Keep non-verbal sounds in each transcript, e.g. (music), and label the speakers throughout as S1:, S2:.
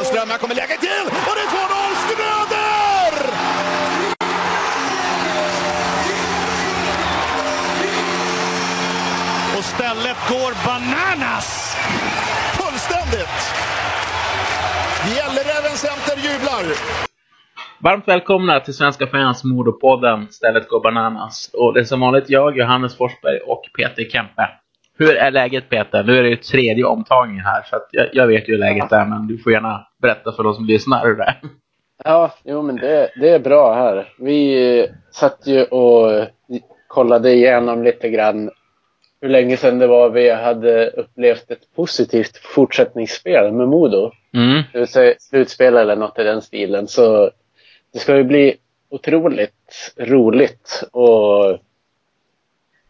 S1: Ström, här kommer läget till och det är 2-0 Schröder!
S2: Och stället går bananas!
S1: Fullständigt! Gälleräven Center jublar!
S3: Varmt välkomna till Svenska fans Modopodden, stället går bananas. Och det är som vanligt jag, Johannes Forsberg och Peter Kempe. Hur är läget Peter? Nu är det ju tredje omtagningen här, så att jag, jag vet ju hur läget är, men du får gärna berätta för de som lyssnar hur det är.
S4: Ja, jo men det, det är bra här. Vi eh, satt ju och eh, kollade igenom lite grann hur länge sedan det var vi hade upplevt ett positivt fortsättningsspel med Modo.
S3: Mm.
S4: Det vill säga slutspel eller något i den stilen. Så det ska ju bli otroligt roligt och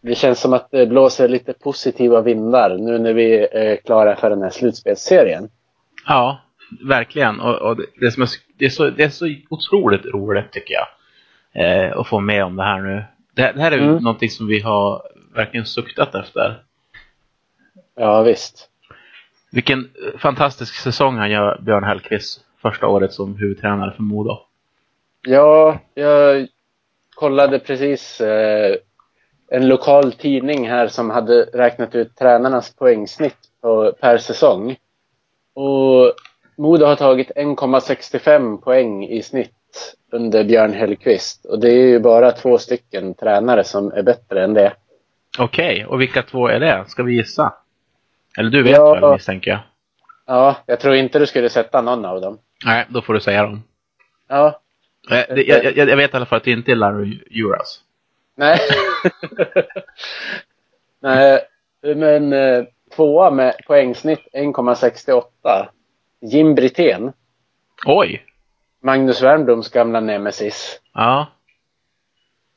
S4: det känns som att det blåser lite positiva vindar nu när vi är klara för den här slutspelsserien.
S3: Ja, verkligen. Och, och det, det, som är, det, är så, det är så otroligt roligt tycker jag. Eh, att få med om det här nu. Det, det här är ju
S4: Mm.
S3: någonting som vi har verkligen suktat efter.
S4: Ja, visst.
S3: Vilken eh, fantastisk säsong han gör, Björn Hellkvist. Första året som huvudtränare för Modo.
S4: Ja, jag kollade precis eh, en lokal tidning här som hade räknat ut tränarnas poängsnitt på, per säsong. Och Modo har tagit 1,65 poäng i snitt under Björn Hellqvist. Och det är ju bara två stycken tränare som är bättre än det.
S3: Okej, och vilka två är det? Ska vi gissa? Eller du vet
S4: Ja.
S3: väl misstänker jag?
S4: Ja, jag tror inte du skulle sätta någon av dem.
S3: Nej, då får du säga dem.
S4: Ja,
S3: Eh, det, jag, jag, jag vet i alla fall att det inte är Larry Juras.
S4: nej. (laughs) nej, men eh, tvåa med poängsnitt 1,68. Jim Brithén.
S3: Oj!
S4: Magnus Wernbloms gamla nemesis.
S3: Ja,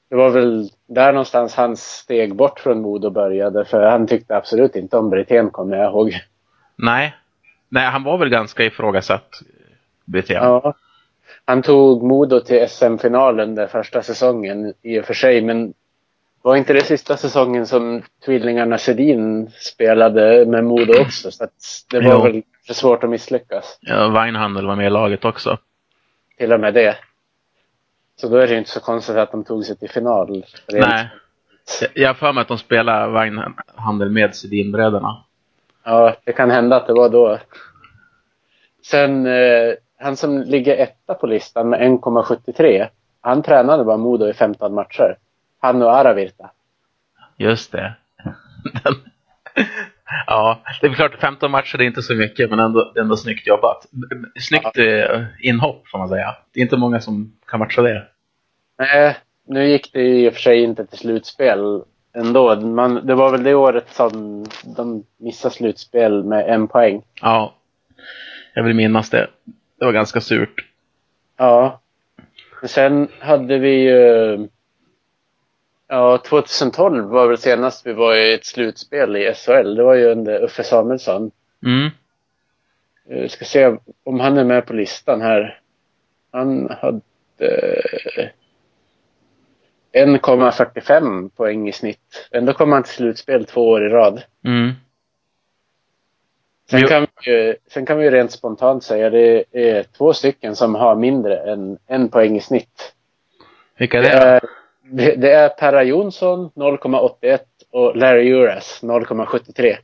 S4: Det var väl där någonstans hans steg bort från Modo började. För han tyckte absolut inte om Brithén, kommer jag ihåg.
S3: nej. Nej, han var väl ganska ifrågasatt, eh, BT.
S4: Ja. Han tog Modo till SM-finalen den första säsongen i och för sig. Men var inte det sista säsongen som tvillingarna Sedin spelade med Modo också? Så att det var
S3: Jo.
S4: väl för svårt att misslyckas.
S3: Ja, Weinhandel var med i laget också.
S4: Till och med det. Så då är det ju inte så konstigt att de tog sig till final. rent
S3: Nej. Jag- Jag har för mig att de spelar Weinhandel med Sedinbröderna.
S4: Ja, det kan hända att det var då. Sen, eh, han som ligger etta på listan med 1,73. Han tränade bara Modo i 15 matcher. Han och Aravirta.
S3: Just det. Den. Ja, det är väl klart 15 matcher det är inte så mycket, men ändå, det är ändå snyggt jobbat. Snyggt eh, inhopp får man säga. Det är inte många som kan matcha det.
S4: Nej, nu gick det ju i och för sig inte till slutspel ändå. Man, det var väl det året som de missade slutspel med en poäng.
S3: Ja, jag vill minnas det. Det var ganska surt.
S4: Ja. Men Sen hade vi ju... Ja, 2012 var väl senast vi var i ett slutspel i SHL. Det var ju under Uffe Samuelsson.
S3: Mm.
S4: Jag ska se om han är med på listan här. Han hade eh, 1,45 poäng i snitt. Ändå kom han till slutspel två år i rad.
S3: Mm.
S4: Sen
S3: Jo.
S4: kan, vi, ju- sen kan vi ju rent spontant säga det är två stycken som har mindre än en poäng i snitt.
S3: Vilka är
S4: Det
S3: det?
S4: är, det, det är Perra Jonsson 0,81 och Larry Uras 0,73.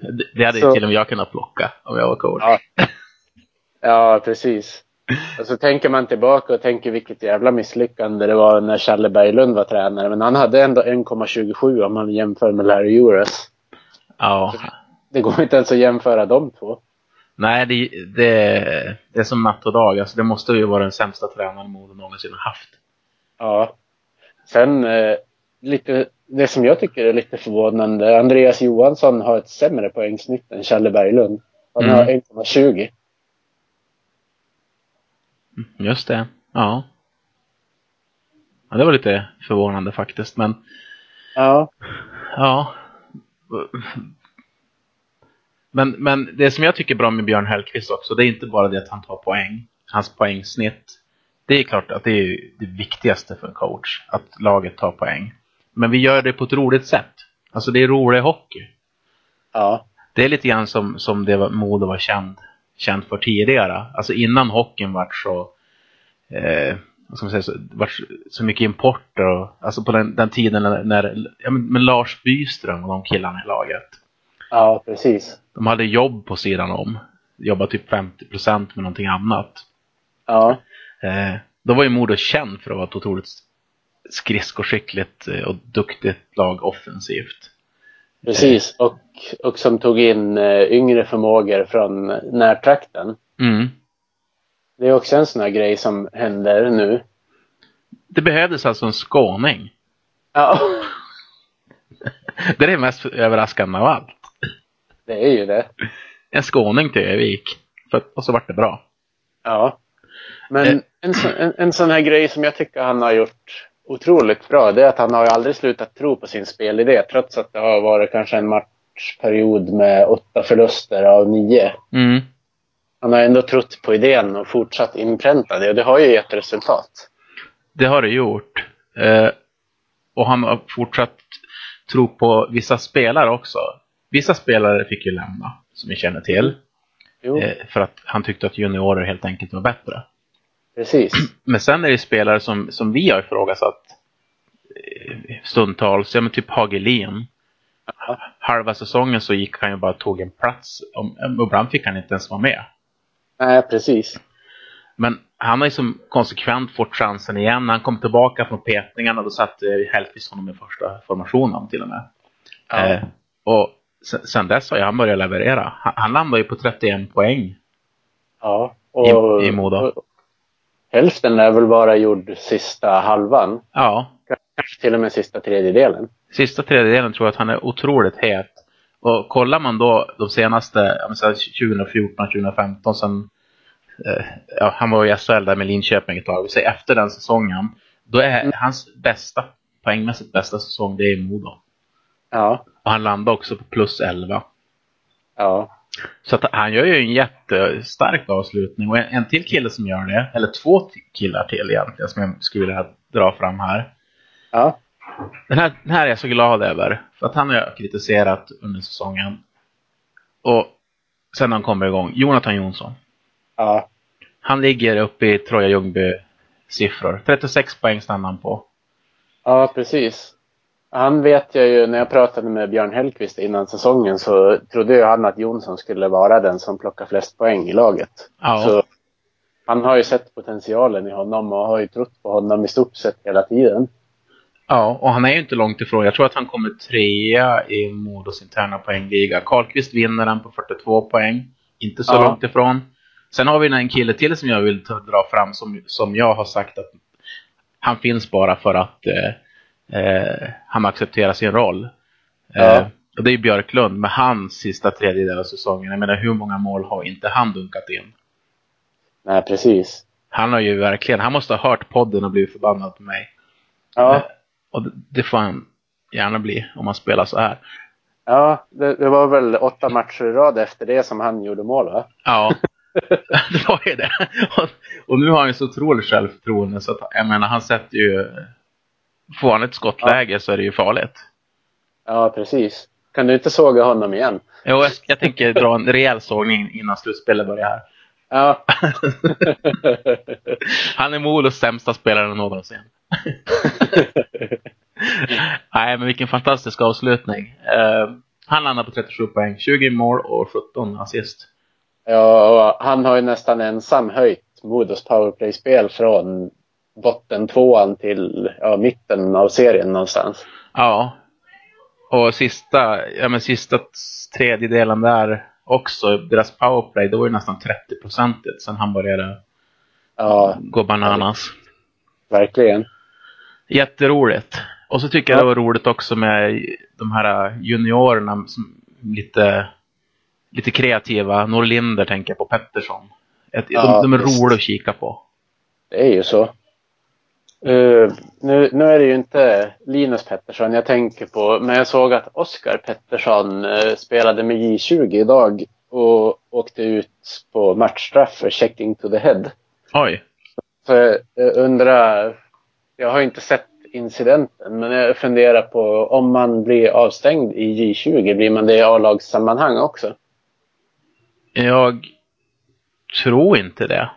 S3: Det- det hade
S4: Så-
S3: till och med jag kunnat plocka om jag var coach.
S4: Ja. Ja, precis. Och så tänker man tillbaka och tänker vilket jävla misslyckande det var när Challe Berglund var tränare. Men han hade ändå 1,27 om man jämför med Larry Uras.
S3: Ja.
S4: Det går inte ens att jämföra de två.
S3: Nej, det, det, det är som natt och dag. Alltså, det måste ju vara den sämsta tränaren Modo någonsin har haft.
S4: Ja. Sen eh, lite, det som jag tycker är lite förvånande. Andreas Johansson har ett sämre poängsnitt än Challe Berglund. Han har
S3: Mm.
S4: 1,20.
S3: Just det. Ja. ja. Det var lite förvånande faktiskt, men
S4: Ja.
S3: ja. Men, men det som jag tycker är bra med Björn Hellkvist också, det är inte bara det att han tar poäng. Hans poängsnitt. Det är klart att det är ju det viktigaste för en coach, att laget tar poäng. Men vi gör det på ett roligt sätt. Alltså det är rolig hockey.
S4: Ja.
S3: Det är lite grann som, som det var- Modo var känd, känd för tidigare. Alltså innan hockeyn vart så, eh, vad ska man säga, så, vart så- så mycket import. Och, alltså på den, den tiden när, när ja, men, men Lars Byström och de killarna i laget.
S4: Ja, precis.
S3: De hade jobb på sidan om. Jobbade typ 50% med någonting annat.
S4: Ja,
S3: Eh, då var ju Modo känd för att vara ett otroligt skridskoskickligt eh, och duktigt lag offensivt.
S4: precis. Och, och som tog in eh, yngre förmågor från närtrakten.
S3: Mm.
S4: Det är också en sån här grej som händer nu.
S3: Det behövdes alltså en skåning.
S4: Ja,
S3: Det är det mest överraskande av allt.
S4: det är ju det.
S3: En skåning till Övik. För, och så vart det bra.
S4: Ja.
S3: Eh.
S4: Men en, så, en, en sån här grej som jag tycker han har gjort otroligt bra, det är att han har ju aldrig slutat tro på sin spelidé, trots att det har varit kanske en matchperiod med åtta förluster av nio.
S3: Mm.
S4: Han har ändå trott på idén och fortsatt inpränta det och det har ju gett resultat.
S3: Det har det gjort. Eh, och han har fortsatt tro på vissa spelare också. Vissa spelare fick ju lämna, som vi känner till.
S4: Jo,
S3: Eh, för att han tyckte att juniorer helt enkelt var bättre.
S4: precis.
S3: Men sen är det spelare som, som vi har ifrågasatt eh, stundtals. Ja, men typ Hagelin. Halva säsongen så gick han ju bara och tog en plats. Om- Och ibland fick han inte ens vara med.
S4: Nej, precis.
S3: Men han har ju som konsekvent fått chansen igen. När han kom tillbaka från petningarna då satte eh, Hellkvist honom i första formationen till och med.
S4: Ja.
S3: Eh, och sen, sen dess har ju han börjat leverera. Han, han landar ju på 31 poäng.
S4: Ja. Och,
S3: I- i Modo.
S4: och- hälften är väl bara gjord sista halvan,
S3: Ja,
S4: kanske till och med sista tredjedelen.
S3: sista tredjedelen tror jag att han är otroligt het. Och kollar man då de senaste, ja, men så här 2014, 2015, sen, eh, ja, han var i SHL där med Linköping ett tag, vi säger efter den säsongen, då är hans bästa, poängmässigt bästa säsong, det är i Modo.
S4: Ja,
S3: Och han landar också på plus 11.
S4: ja.
S3: Så att han gör ju en jättestark avslutning. Och en, en till kille som gör det, eller två t- killar till egentligen, som jag skulle vilja dra fram här.
S4: ja.
S3: Den här, den här är jag så glad över. För att han har jag kritiserat under säsongen. Och sen när han kommer igång. Jonathan Jonsson.
S4: ja.
S3: Han ligger uppe i Troja Ljungby-siffror. 36 poäng stannar han på.
S4: Ja, precis. Han vet jag ju, när jag pratade med Björn Hellkvist innan säsongen så trodde ju han att Jonsson skulle vara den som plockar flest poäng i laget.
S3: Ja.
S4: Så han har ju sett potentialen i honom och har ju trott på honom i stort sett hela tiden.
S3: Ja, och han är ju inte långt ifrån. Jag tror att han kommer trea i Modos interna poängliga. Karlqvist vinner den på 42 poäng. Inte så
S4: Ja.
S3: långt ifrån. Sen har vi en kille till som jag vill ta, dra fram som, som jag har sagt att han finns bara för att eh, eh, han accepterar sin roll.
S4: Ja.
S3: Eh, och det är Björklund med hans sista tredjedel av säsongen. Jag menar hur många mål har inte han dunkat in?
S4: Nej, precis.
S3: Han har ju verkligen, han måste ha hört podden och blivit förbannad på mig.
S4: Ja,
S3: Och det- det får han gärna bli om han spelar så här.
S4: ja det, det var väl åtta matcher i rad efter det som han gjorde mål, va?
S3: Ja, (laughs) det var ju det. Och, och nu har han ju så otroligt självförtroende så att jag menar han sätter ju... Får han ett skottläge så är det ju farligt.
S4: Ja, precis. Kan du inte såga honom igen?
S3: Jo, jag, jag tänker dra en rejäl sågning innan slutspelet börjar här.
S4: Ja.
S3: Han är Molos sämsta spelare någonsin. (laughs) Nej, men vilken fantastisk avslutning. Eh, han landar på 37 poäng, 20 mål och 17 assist.
S4: Ja, och han har ju nästan ensam höjt Modos powerplay-spel från botten tvåan till ja, mitten av serien någonstans.
S3: Ja. Och sista, ja men sista tredjedelen där också, deras powerplay, det var ju nästan 30-procentigt sen han började
S4: Ja,
S3: gå bananas.
S4: verkligen.
S3: Jätteroligt. Och så tycker jag det var roligt också med de här juniorerna som lite, lite kreativa. Norlinder tänker jag på, Pettersson. Ett,
S4: Ja,
S3: de, de är
S4: visst.
S3: roliga att kika på.
S4: Det är ju så. Eh, nu, nu är det ju inte Linus Pettersson jag tänker på, men jag såg att Oskar Pettersson eh, spelade med J20 idag och åkte ut på matchstraff för checking to the head.
S3: Oj.
S4: Så jag jag undrar, jag har ju inte sett incidenten. Men jag funderar på om man blir avstängd i J20, blir man det i A-lagssammanhang också?
S3: Jag tror inte det.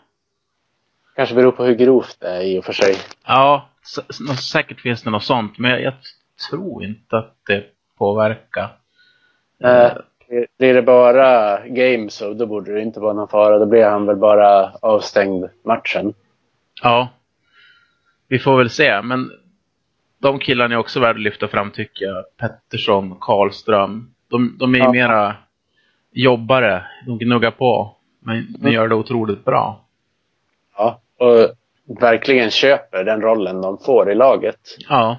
S4: Kanske beror på hur grovt det är i och för sig.
S3: Ja, s- s- nå- säkert finns det något sånt, men jag, jag tror inte att det påverkar.
S4: Eh, Blir det bara games så då borde det inte vara någon fara. Då blir han väl bara avstängd matchen.
S3: Ja. Vi får väl se, men de killarna är också värda att lyfta fram tycker jag. Pettersson, Karlström. De, de är ju
S4: Ja.
S3: mera jobbare. De gnuggar på. Men de
S4: Mm.
S3: gör det otroligt bra.
S4: Ja, och verkligen köper den rollen de får i laget.
S3: Ja.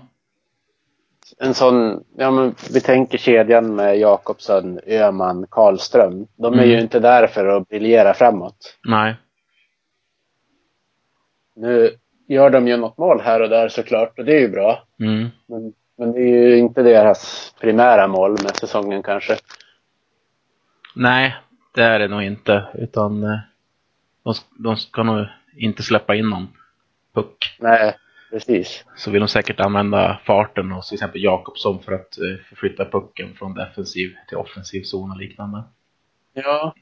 S4: En sån, ja men vi tänker kedjan med Jakobsson, Öhman, Karlström. De är
S3: Mm.
S4: ju inte där för att briljera framåt.
S3: Nej.
S4: Nu gör de ju något mål här och där såklart och det är ju bra.
S3: Mm.
S4: Men, men det är ju inte deras primära mål med säsongen kanske.
S3: Nej, det är det nog inte. Utan eh, de, s- de ska nog inte släppa in någon puck.
S4: Nej, precis.
S3: Så vill de säkert använda farten och till exempel Jakobsson för att eh, förflytta pucken från defensiv till offensiv zon och liknande.
S4: Ja.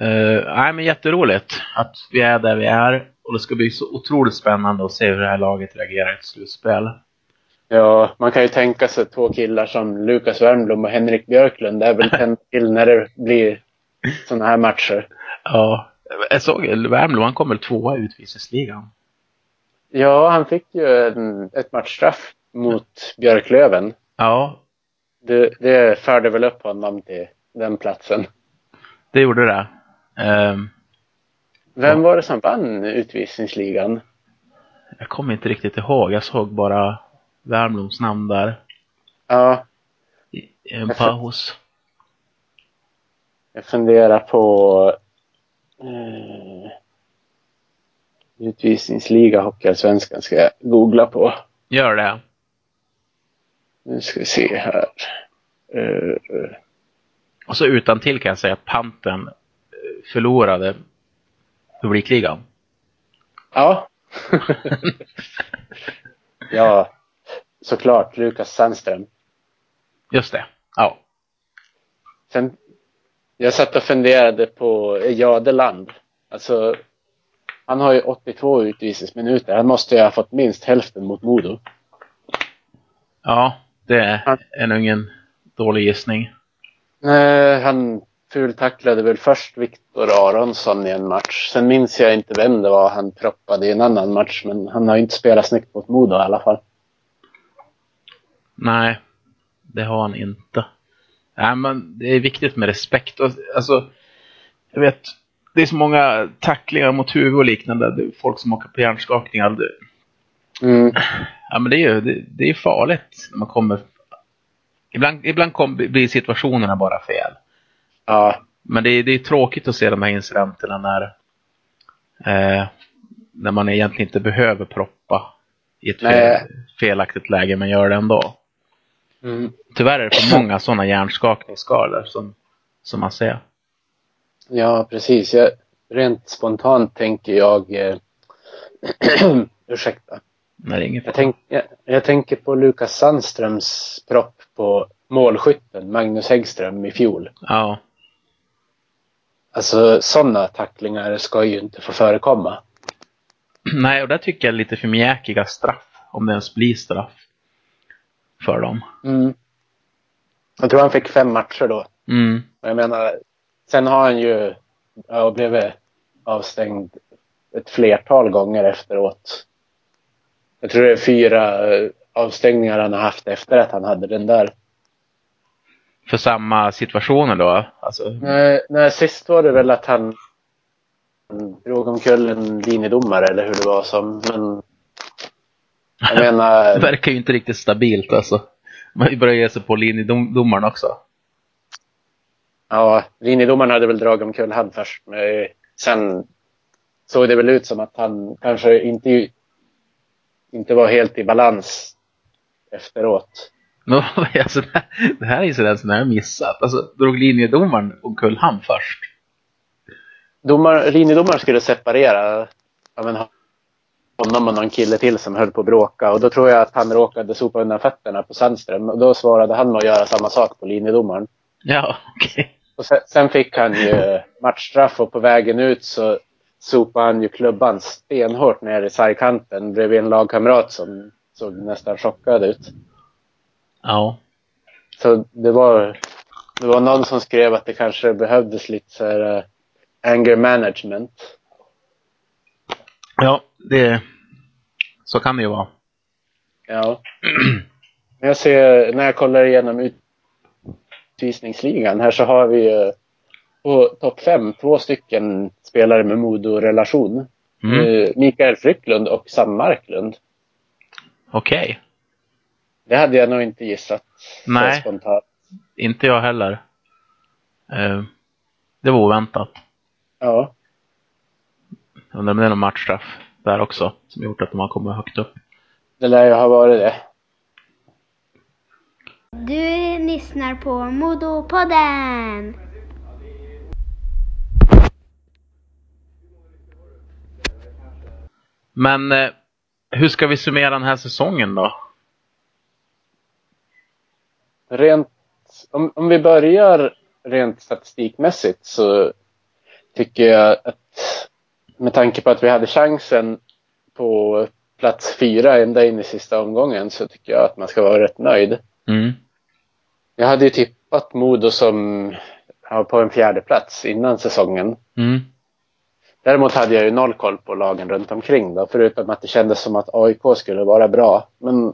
S3: Eh, nej, men jätteroligt att vi är där vi är. Och det ska bli så otroligt spännande att se hur det här laget reagerar i ett slutspel.
S4: Ja, man kan ju tänka sig två killar som Lukas Wernbloom och Henrik Björklund. Det är väl tänd till när det blir såna här matcher.
S3: Ja. Jag såg Värmland, han kommer tvåa i utvisningsligan.
S4: Ja, han fick ju en, ett matchstraff mot Björklöven.
S3: Ja,
S4: Det, det förde väl upp honom till den platsen.
S3: det gjorde det. Ehm,
S4: Vem var det som vann utvisningsligan?
S3: jag kommer inte riktigt ihåg. Jag såg bara Värmlands namn där.
S4: Ja,
S3: I i en paus.
S4: Jag funderar på eh, utvisningsliga Hockeyallsvenskan ska jag googla på.
S3: Gör det.
S4: Nu ska vi se här. Eh,
S3: Och så utan till kan jag säga att Panten eh, förlorade publikligan.
S4: ja. (laughs) ja, såklart. Lukas Sandström.
S3: Just det. Ja.
S4: Sen, jag satt och funderade på Jadeland. Alltså, han har ju 82 utvisningsminuter. Han måste ju ha fått minst hälften mot Modo.
S3: Ja, det
S4: Ja.
S3: är nog ingen dålig gissning.
S4: Nej, han fultacklade väl först Viktor Aronsson i en match. Sen minns jag inte vem det var han proppade i en annan match, men han har ju inte spelat snyggt mot Modo i alla fall.
S3: Nej, det har han inte. Nej, men det är viktigt med respekt. Och, Alltså, jag vet, det är så många tacklingar mot huvud och liknande. Det är folk som åker på hjärnskakningar. Det,
S4: Mm.
S3: ja, men det är ju det, det är ju farligt när man kommer... Ibland, ibland kom, blir situationerna bara fel.
S4: Ja,
S3: Men det är, det är tråkigt att se de här incidenterna när, eh, när man egentligen inte behöver proppa i ett fel,
S4: Nej.
S3: felaktigt läge, men gör det ändå.
S4: mm.
S3: Tyvärr är det för många sådana hjärnskakningsskador som, som man ser.
S4: ja precis. Jag, rent spontant tänker jag... Eh, (clears throat) ursäkta.
S3: När det är inget
S4: Jag, tänk, jag, jag tänker på Lukas Sandströms propp på målskytten Magnus Häggström i fjol.
S3: Ja, (clears throat)
S4: Alltså sådana tacklingar ska ju inte få förekomma.
S3: nej, och där tycker jag lite för mjäkiga straff, om det ens blir straff för dem.
S4: Mm. Jag tror han fick fem matcher då.
S3: Mm.
S4: Och Jag menar, sen har han ju ja, blivit avstängd ett flertal gånger efteråt. Jag tror det är fyra eh, avstängningar han har haft efter att han hade den där.
S3: För samma situationer då? Alltså,
S4: Nej, nej sist var det väl att han drog omkull en linjedomare eller hur det var som. Men jag
S3: det
S4: menar,
S3: verkar ju inte riktigt stabilt alltså. Man börjar ge sig på linjedomaren också.
S4: ja, linjedomaren hade väl dragit omkull han först. Men eh, sen såg det väl ut som att han kanske inte, inte var helt i balans efteråt.
S3: Men alltså, det här- det här incidenten har jag missat. Alltså, drog linjedomaren omkull han först?
S4: Domar, linjedomaren skulle separera av en honom och någon kille till som höll på att bråka. Och då tror jag att han råkade sopa undan fötterna på Sandström. Och då svarade han med att göra samma sak på linjedomaren.
S3: Ja, okej.
S4: Och sen, sen fick han ju eh, matchstraff och på vägen ut så sopade han ju klubban stenhårt ner i sargkanten bredvid en lagkamrat som såg nästan chockad ut.
S3: Ja.
S4: Så det var, det var någon som skrev att det kanske behövdes lite så här, eh, anger management.
S3: Ja, det... Så kan det ju vara.
S4: Ja. (clears throat) När jag, ser, när jag kollar igenom utvisningsligan här så har vi ju eh, på topp fem två stycken spelare med Modo-relation.
S3: Mm.
S4: Eh, Mikael Frycklund och Sam Marklund.
S3: Okej.
S4: Det hade jag nog inte gissat så
S3: Nej.
S4: spontant.
S3: Inte jag heller. Eh, det var oväntat.
S4: Ja.
S3: Undrar om det är någon matchstraff där också som gjort att de har kommit högt upp.
S4: Det lär ju ha varit det.
S5: Du lyssnar på Modopodden!
S3: Men eh, hur ska vi summera den här säsongen då?
S4: Rent, om, om vi börjar rent statistikmässigt så tycker jag att med tanke på att vi hade chansen på plats fyra ända in i sista omgången så tycker jag att man ska vara rätt nöjd.
S3: Mm.
S4: Jag hade ju tippat Modo som ja, på en fjärde plats innan säsongen.
S3: Mm.
S4: Däremot hade jag ju noll koll på lagen runt omkring då, förutom att det kändes som att AIK skulle vara bra. Men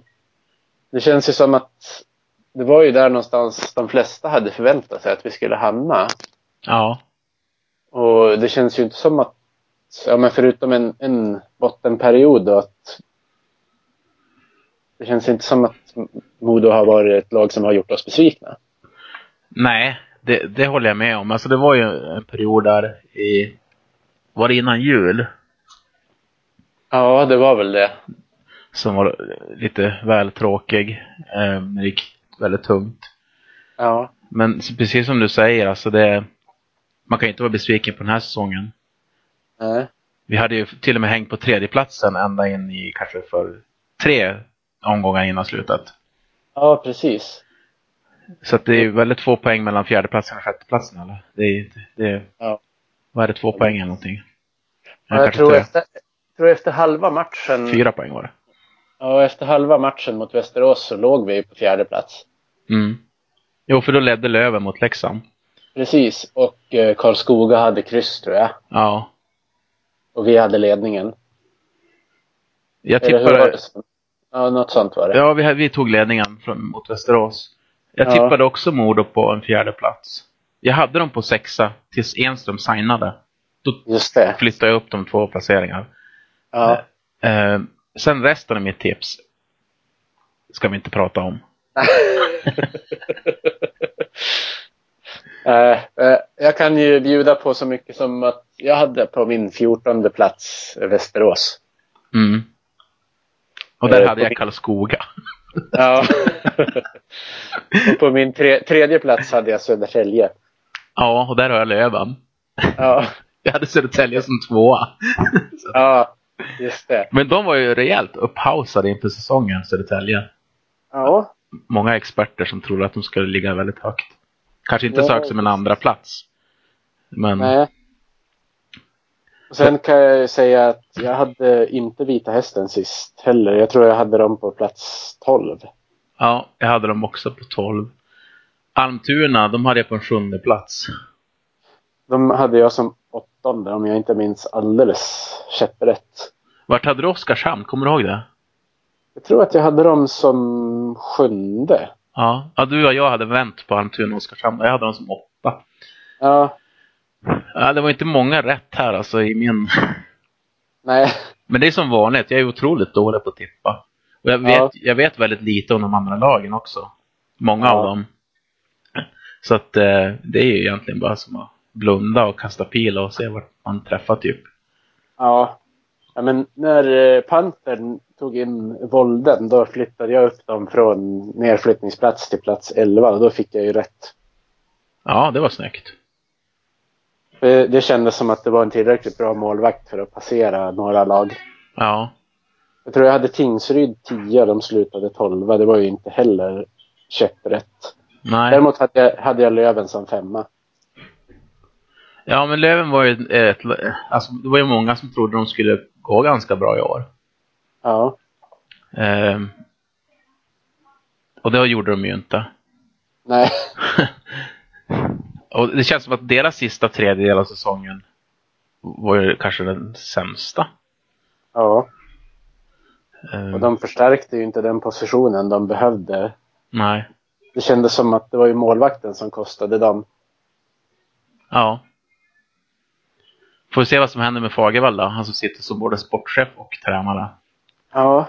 S4: det känns ju som att det var ju där någonstans de flesta hade förväntat sig att vi skulle hamna.
S3: Ja.
S4: Och det känns ju inte som att, ja men förutom en, en bottenperiod då, att det känns inte som att Modo har varit ett lag som har gjort oss besvikna.
S3: Nej, det, det håller jag med om. Alltså det var ju en period där i... Var det innan jul?
S4: Ja, det var väl det.
S3: Som var lite väl tråkig. Eh, det gick väldigt tungt.
S4: Ja.
S3: Men s- precis som du säger, alltså det... Man kan ju inte vara besviken på den här säsongen.
S4: Nej.
S3: Vi hade ju till och med hängt på tredjeplatsen ända in i kanske för tre omgångar innan slutet.
S4: Ja, precis.
S3: Så att det är ju väldigt få poäng mellan fjärdeplatsen och sjätteplatsen eller? Det är ju inte, det är,
S4: Ja.
S3: vad är det, två poäng eller någonting? Ja,
S4: jag
S3: kanske
S4: tror
S3: tre.
S4: efter, jag tror efter halva matchen
S3: Fyra poäng var det.
S4: Ja, efter halva matchen mot Västerås så låg vi på fjärde plats.
S3: Mm. Jo, för då ledde Löven mot Leksand.
S4: Precis, och eh, Karlskoga hade kryss tror jag.
S3: Ja.
S4: Och vi hade ledningen.
S3: Jag
S4: Eller hur var det?
S3: tippade...
S4: Ja, något sånt var det.
S3: Ja, vi, vi tog ledningen från, mot Västerås. Jag
S4: Ja.
S3: tippade också Modo på en fjärde plats. Jag hade dem på sexa tills Enström signade. Då
S4: Just det.
S3: flyttade jag upp de två placeringar.
S4: Ja.
S3: Eh, sen resten av mitt tips ska vi inte prata om.
S4: Eh, eh, jag kan ju bjuda på så mycket som att jag hade på min fjortonde plats eh, Västerås.
S3: Mm. Och där
S4: Eh,
S3: hade
S4: på
S3: jag
S4: min-
S3: Karlskoga. (laughs)
S4: Ja. (laughs) och på min tre, tredje plats hade jag Södertälje.
S3: Ja, och där har jag Löven.
S4: Ja,
S3: Jag hade Södertälje som tvåa.
S4: ja just det.
S3: Men de var ju rejält upphausade inför säsongen, Södertälje.
S4: Ja.
S3: Många experter som trodde att de skulle ligga väldigt högt. Kanske inte så
S4: Ja,
S3: högt som en andra plats. Men
S4: Nej. Och Sen kan jag ju säga att jag hade inte Vita Hästen sist heller. Jag tror jag hade dem på plats 12.
S3: ja, jag hade dem också på 12. Almtuna, de hade jag på en sjunde plats.
S4: De hade jag som åttonde om jag inte minns alldeles käpprätt.
S3: Vart hade du Oskarshamn? Kommer du ihåg det?
S4: Jag tror att jag hade dem som sjunde.
S3: Ja, ja du och jag hade vänt på Almtuna och Oskarshamn. Jag hade dem som åtta.
S4: Ja,
S3: Ja, det var inte många rätt här alltså i min...
S4: nej. (laughs)
S3: Men det är som vanligt, jag är otroligt dålig på att tippa. Och jag vet,
S4: Ja.
S3: jag vet väldigt lite om de andra lagen också. Många
S4: Ja.
S3: av dem. Så att eh, det är ju egentligen bara som att blunda och kasta pil och se vart man träffar typ.
S4: Ja. ja men när eh, Pantern tog in Volden då flyttade jag upp dem från nerflyttningsplats till plats 11 och då fick jag ju rätt.
S3: Ja, det var snyggt.
S4: Eh, Det kändes som att det var en tillräckligt bra målvakt för att passera några lag.
S3: Ja.
S4: Jag tror jag hade Tingsryd 10 och de slutade 12. Det var ju inte heller käpprätt.
S3: Nej.
S4: Däremot hade jag, hade jag Löven som femma.
S3: Ja, men Löven var ju ett... Alltså, det var ju många som trodde de skulle gå ganska bra i år.
S4: Ja.
S3: Ehm. och det gjorde de ju inte.
S4: Nej. (laughs)
S3: Och det känns som att deras sista tredjedel av säsongen var ju kanske den sämsta.
S4: Ja.
S3: Ehm,
S4: Och de förstärkte ju inte den positionen de behövde.
S3: Nej.
S4: Det kändes som att det var ju målvakten som kostade dem.
S3: Ja. Får vi se vad som händer med Fagervall då. Han som sitter som både sportchef och tränare.
S4: Ja.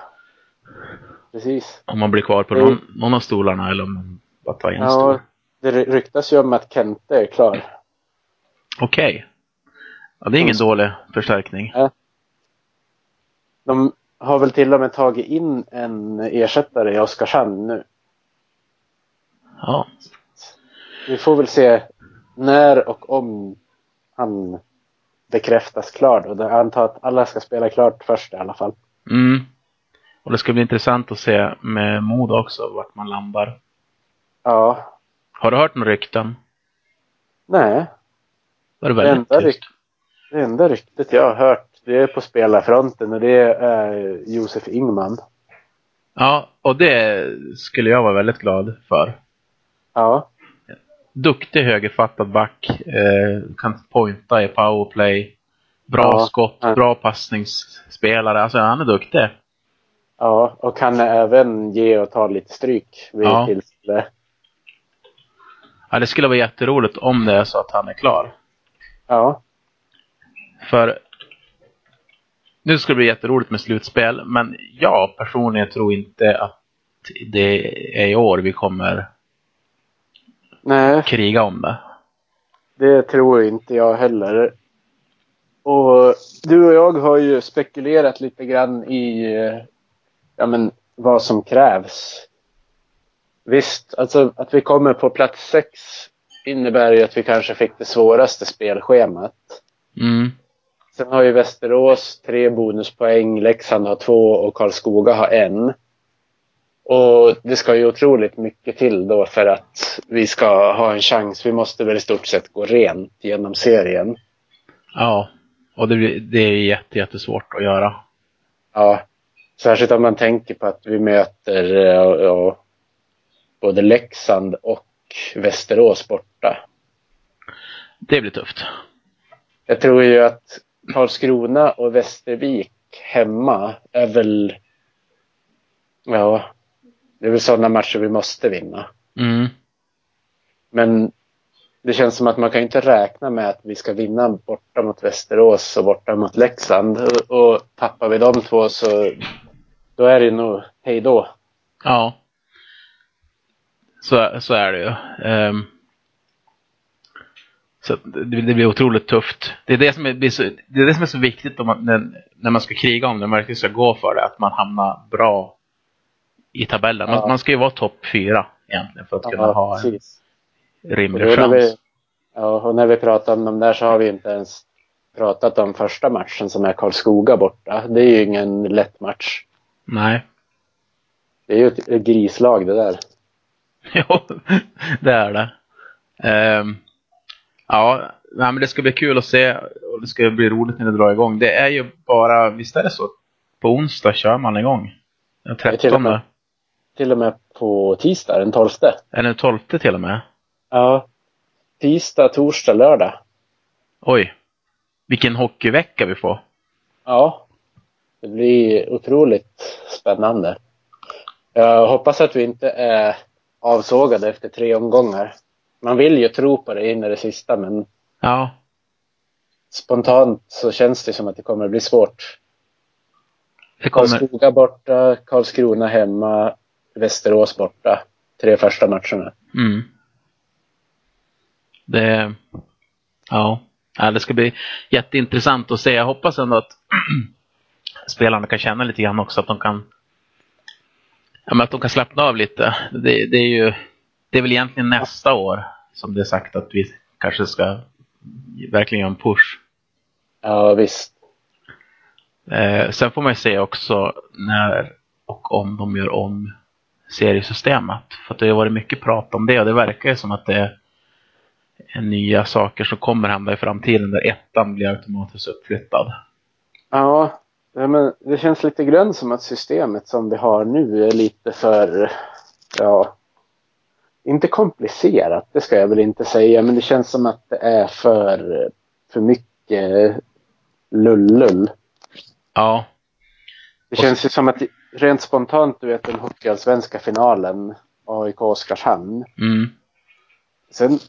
S4: Precis.
S3: Om man blir kvar på
S4: Mm.
S3: någon, någon av stolarna eller om man bara tar in en stol.
S4: Ja. Det ry- ryktas ju om att Kente är klar.
S3: Okej. Ja, det är ingen dålig förstärkning.
S4: De har väl till och med tagit in en ersättare i Oskarshamn nu.
S3: Ja.
S4: Vi får väl se när och om han bekräftas klar. Och jag antar att alla ska spela klart först i alla fall.
S3: Mm. Och det ska bli intressant att se med Modo också vart man landar.
S4: Ja.
S3: Har du hört några rykten?
S4: Nej.
S3: Det är
S4: Det
S3: väldigt
S4: enda,
S3: tyst.
S4: ryk- det enda ryktet jag har hört det är på spelarfronten och det är Josef Ingman.
S3: Ja, och det skulle jag vara väldigt glad för.
S4: Ja.
S3: Duktig högerfattad back. Eh, kan pointa i powerplay. Bra
S4: Ja.
S3: skott,
S4: Ja.
S3: bra passningsspelare. Alltså han är duktig.
S4: Ja, och kan även ge och ta lite stryk vid
S3: Ja.
S4: tillfälle.
S3: Ja, det skulle vara jätteroligt om det är så att han är klar.
S4: Ja,
S3: För nu ska det bli jätteroligt med slutspel, men jag personligen tror inte att det är i år vi kommer
S4: nej,
S3: kriga om det.
S4: det tror inte jag heller. Och du och jag har ju spekulerat lite grann i eh, ja, men, vad som krävs. Visst, alltså att vi kommer på plats sex innebär ju att vi kanske fick det svåraste spelschemat.
S3: Mm.
S4: Sen har ju Västerås tre bonuspoäng, Leksand har två och Karlskoga har en. Och det ska ju otroligt mycket till då för att vi ska ha en chans. Vi måste väl i stort sett gå rent genom serien.
S3: Ja, och det, blir- det är jätte, jättesvårt att göra.
S4: Ja, särskilt om man tänker på att vi möter eh, ja, både Leksand och Västerås borta.
S3: Det blir tufft.
S4: Jag tror ju att Karlskrona och Västervik hemma är väl... Ja, det är väl sådana matcher vi måste vinna.
S3: Mm.
S4: Men det känns som att man kan ju inte räkna med att vi ska vinna borta mot Västerås och borta mot Leksand. Och- Och tappar vi de två så då är det nog hej då.
S3: Ja. Så, så är det ju. Ehm. så att det, det blir otroligt tufft. Det är det som är, blir så, det är, det som är så viktigt om man, när, när man ska kriga om det, man verkligen ska gå för det, att man hamnar bra i tabellen. Man,
S4: Ja.
S3: man ska ju vara topp fyra egentligen för att kunna ha en
S4: precis. Och då
S3: rimlig
S4: när
S3: chans.
S4: vi, ja, och när vi pratar om de där så har vi inte ens pratat om första matchen som är Karlskoga borta. Det är ju ingen lätt match.
S3: Nej.
S4: Det är ju ett ett grislag det där.
S3: (laughs) Jo, det är det. Ehm, ja, nej, men det ska bli kul att se och det ska bli roligt när det drar igång. Det är ju bara, visst är det så? På onsdag kör man igång? Den
S4: är till och
S3: 13?
S4: med- Till och med på tisdag den 12.
S3: Eller den 12 till och med?
S4: Ja. Tisdag, torsdag, lördag.
S3: Oj. Vilken hockeyvecka vi får.
S4: Ja. Det blir otroligt spännande. Jag hoppas att vi inte är avsågade efter tre omgångar. Man vill ju tro på det in i det sista men
S3: Ja.
S4: spontant så känns det som att det kommer bli svårt.
S3: Det kommer,
S4: Karlskoga borta, Karlskrona hemma, Västerås borta. Tre första matcherna.
S3: mm. Det, ja. ja. Det ska bli jätteintressant att se. Jag hoppas ändå att (clears throat) spelarna kan känna lite grann också att de kan ja, men att de kan slappna av lite. Det, det är ju det är väl egentligen nästa år som det är sagt att vi kanske ska verkligen göra en push.
S4: Ja, visst.
S3: Eh, sen får man ju se också när och om de gör om seriesystemet. För att det har varit mycket prat om det och det verkar ju som att det är nya saker som kommer hända i framtiden där ettan blir automatiskt uppflyttad.
S4: Ja, nej, men det känns lite grann som att systemet som vi har nu är lite för, ja, inte komplicerat, det ska jag väl inte säga, men det känns som att det är för, för mycket lullull.
S3: Ja,
S4: Det känns ju som att rent spontant, du vet den hockeyallsvenska finalen, AIK-Oskarshamn.
S3: mm.
S4: Sen,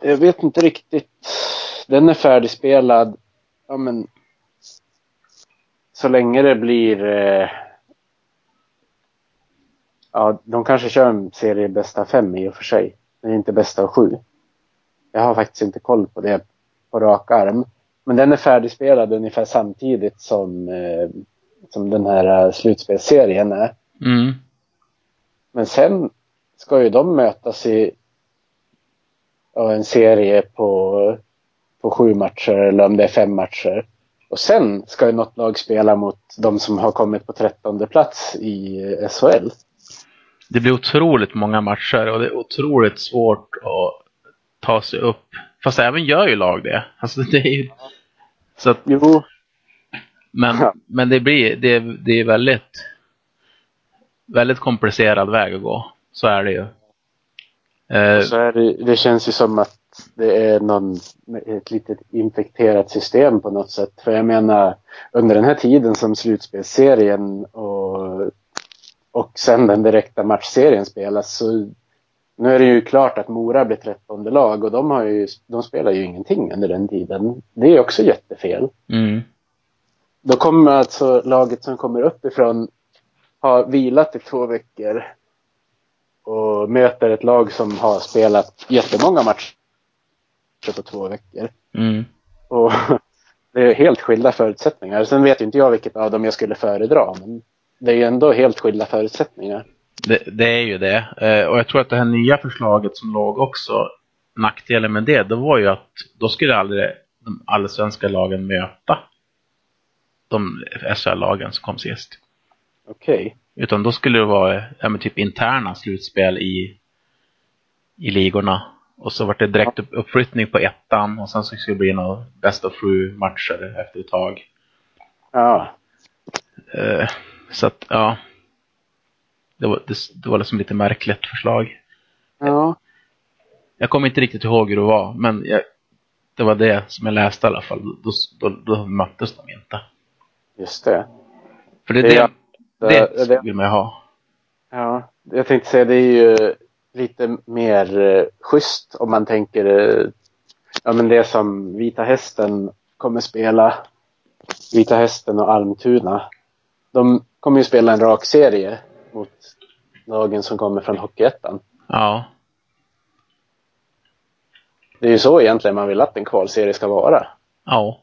S4: jag vet inte riktigt. Den är färdigspelad. Ja, men. Så länge det blir. Eh, ja, de kanske kör en serie bästa av fem i och för sig. Men inte bästa av sju. Jag har faktiskt inte koll på det på rak arm. Men den är färdigspelad ungefär samtidigt som, eh, som den här eh, slutspelsserien är.
S3: Mm.
S4: Men sen ska ju de mötas i ja, en serie på, på sju matcher eller om det är fem matcher. Och sen ska ju något lag spela mot de som har kommit på trettonde plats i eh, SHL.
S3: Det blir otroligt många matcher och det är otroligt svårt att ta sig upp. Fast även gör ju lag det. Alltså det är ju... Så att
S4: Jo,
S3: Men,
S4: Ja.
S3: men det blir det, det är väldigt, väldigt komplicerad väg att gå. Så är det ju. Eh,
S4: så är det, det känns ju som att det är någon, ett litet infekterat system på något sätt. För jag menar, under den här tiden som slutspelsserien och, och sen den direkta matchserien spelas så nu är det ju klart att Mora blir trettonde lag och de, har ju, de spelar ju ingenting under den tiden. Det är också jättefel.
S3: mm,
S4: Då kommer alltså laget som kommer uppifrån ha vilat i två veckor och möter ett lag som har spelat jättemånga matcher på två veckor.
S3: mm,
S4: Och (laughs) det är helt skilda förutsättningar. Sen vet ju inte jag vilket av dem jag skulle föredra, men det är ju ändå helt skilda förutsättningar.
S3: det, det är ju det. Eh, och jag tror att det här nya förslaget som låg också, nackdelen med det, det var ju att då skulle aldrig de allsvenska lagen möta de SHL-lagen som kom sist.
S4: Okej.
S3: Utan då skulle det vara ja, men typ interna slutspel i, i ligorna. Och så vart det direkt upp, uppflyttning på ettan och sen så skulle det bli några bäst av sju matcher efter ett tag.
S4: Ja.
S3: Eh, så att, ja. Det var, det, det var liksom lite märkligt förslag.
S4: Ja.
S3: Jag kommer inte riktigt ihåg hur det var, men jag, det var det som jag läste i alla fall. Då, då, då möttes de inte.
S4: Just det.
S3: För det,
S4: Det- eh,
S3: det, det,
S4: det, det
S3: skulle man ju ha.
S4: Ja, jag tänkte säga det är ju lite mer eh, schysst om man tänker eh, ja, men det som Vita Hästen kommer spela. Vita Hästen och Almtuna. De kommer ju spela en rak serie mot lagen som kommer från Hockeyettan.
S3: Ja.
S4: Det är ju så egentligen man vill att en kvalserie ska vara.
S3: Ja.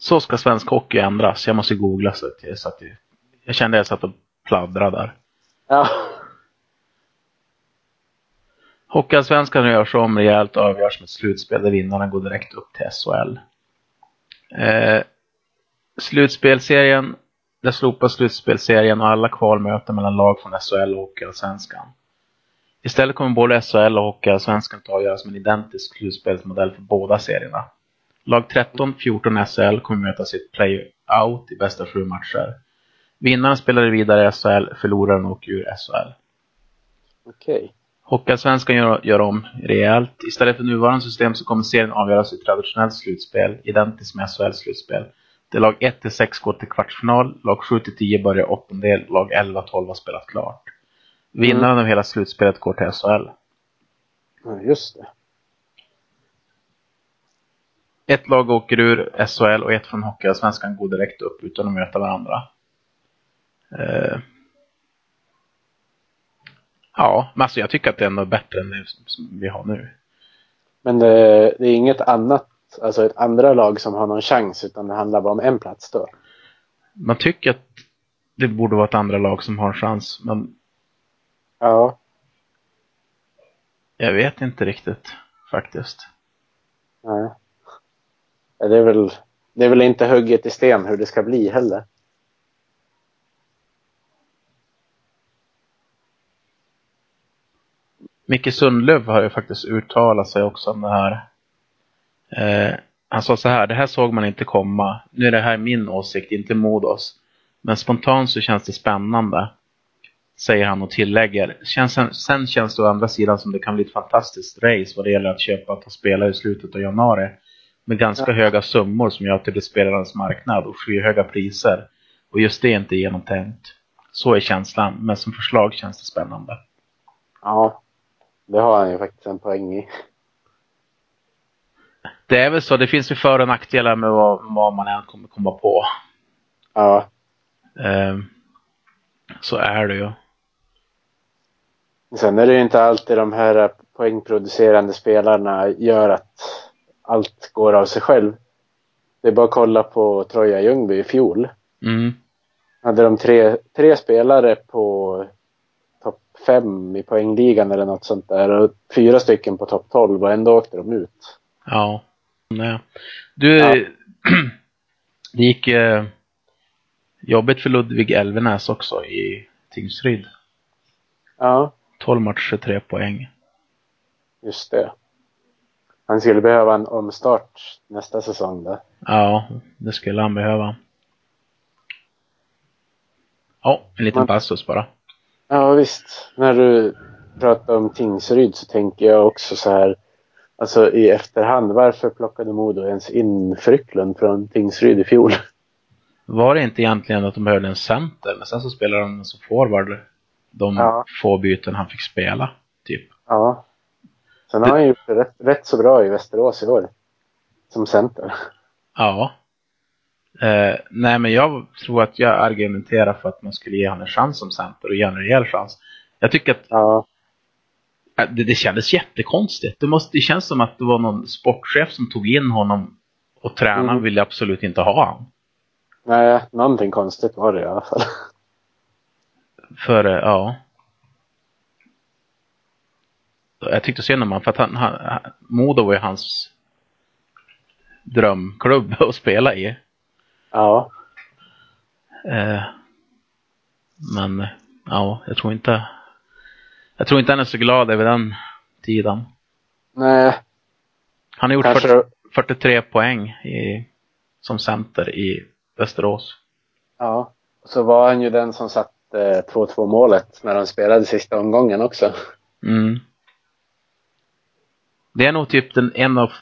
S3: Så ska svensk hockey ändras. Jag måste googla så att jag satt i... Jag kände att jag satt och pladdrade där.
S4: Ja,
S3: Hockeyallsvenskan görs om rejält och avgörs med ett slutspel där vinnarna går direkt upp till SHL. Eh, slutspelserien, där slopas slutspelserien och alla kvalmöten mellan lag från SHL och Hockeyallsvenskan. Istället kommer både SHL och Hockeyallsvenskan att avgöras med en identisk slutspelsmodell för båda serierna. Lag 13, 14 SHL kommer möta sitt play-out i bästa sju matcher. Vinnaren spelar vidare i SHL, förloraren åker ur SHL.
S4: okej.
S3: Hockeyallsvenskan gör, gör om rejält. Istället för nuvarande system så kommer serien avgöras i traditionellt slutspel, identiskt med SHL-slutspel. Där lag 1-6 går till kvartsfinal, lag 7-10 börjar åttondel, lag 11-12 har spelat klart. Vinnaren av hela slutspelet går till SHL.
S4: Ja, just det.
S3: Ett lag åker ur SHL och ett från Hockeyallsvenskan går direkt upp utan att möta varandra. Eh. Ja, men alltså jag tycker att det är ändå bättre än det som- som vi har nu.
S4: Men eh, det, det är inget annat, alltså ett andra lag som har någon chans utan det handlar bara om en plats då.
S3: man tycker att det borde vara ett andra lag som har en chans, men
S4: Ja,
S3: jag vet inte riktigt faktiskt.
S4: nej. Ja, Det är, väl, det är väl inte hugget i sten hur det ska bli heller.
S3: Micke Sundlöv har ju faktiskt uttalat sig också om det här. Eh, han sa så här, det här såg man inte komma. Nu är det här min åsikt, inte Modos. Men spontant så känns det spännande. Säger han och tillägger. Känns, sen- sen känns det å andra sidan som det kan bli ett fantastiskt race vad det gäller att köpa och spela i slutet av januari. Med ganska höga summor som gör att det blir spelarens marknad och skyhöga priser. Och just det är inte genomtänkt. Så är känslan, men som förslag känns det spännande.
S4: Ja, det har han ju faktiskt en poäng i.
S3: Det är väl så. Det finns ju för och nackdelar med vad, vad man än kommer komma på.
S4: Ja,
S3: Ehm, så är det ju.
S4: Sen är det ju inte alltid de här eh, poängproducerande spelarna gör att allt går av sig själv. Det är bara att kolla på Troja Ljungby i fjol.
S3: Mm.
S4: Hade de tre, tre spelare på topp fem i poängligan eller något sånt där och fyra stycken på topp 12 och ändå åkte de ut.
S3: Ja. Nej. Du,
S4: Ja.
S3: (clears throat) det gick eh, jobbigt för Ludvig Elvenäs också i Tingsryd.
S4: Ja,
S3: 12 matcher, 3 poäng.
S4: just det. Han skulle behöva en omstart nästa säsong där.
S3: Ja, det skulle han behöva. Ja, en liten
S4: Man-
S3: passus bara.
S4: Ja visst. När du pratar om Tingsryd så tänker jag också så här. Alltså i efterhand, varför plockade Modo ens in Frycklund från Tingsryd i fjol?
S3: Var det inte egentligen att de behövde en center, men sen så spelade de som forward de
S4: Ja.
S3: få byten han fick spela. Typ.
S4: Ja. Sen har han gjort det rätt, rätt så bra i Västerås i år. Som center.
S3: Ja. Eh, nej, men jag tror att jag argumenterar för att man skulle ge honom en chans som center och ge honom en rejäl chans. Jag tycker att
S4: Ja.
S3: eh, det, det kändes jättekonstigt. Det, måste, det känns som att det var någon sportchef som tog in honom och tränaren
S4: Mm.
S3: ville absolut inte ha honom.
S4: Nej, någonting konstigt var det i alla fall.
S3: För, eh, ja. Jag tyckte synd om honom, för att han, han, han- Modo var ju hans drömklubb (laughs) att spela i.
S4: Ja.
S3: Eh, men, ja, jag tror inte... Jag tror inte han är så glad över den tiden.
S4: Nej,
S3: Han har gjort
S4: Kanske-
S3: 40, 43 poäng i, som center i Västerås.
S4: ja. Så var han ju den som satte eh, 2-2 målet när de spelade sista omgången också.
S3: Mm. Det är nog typ den en av...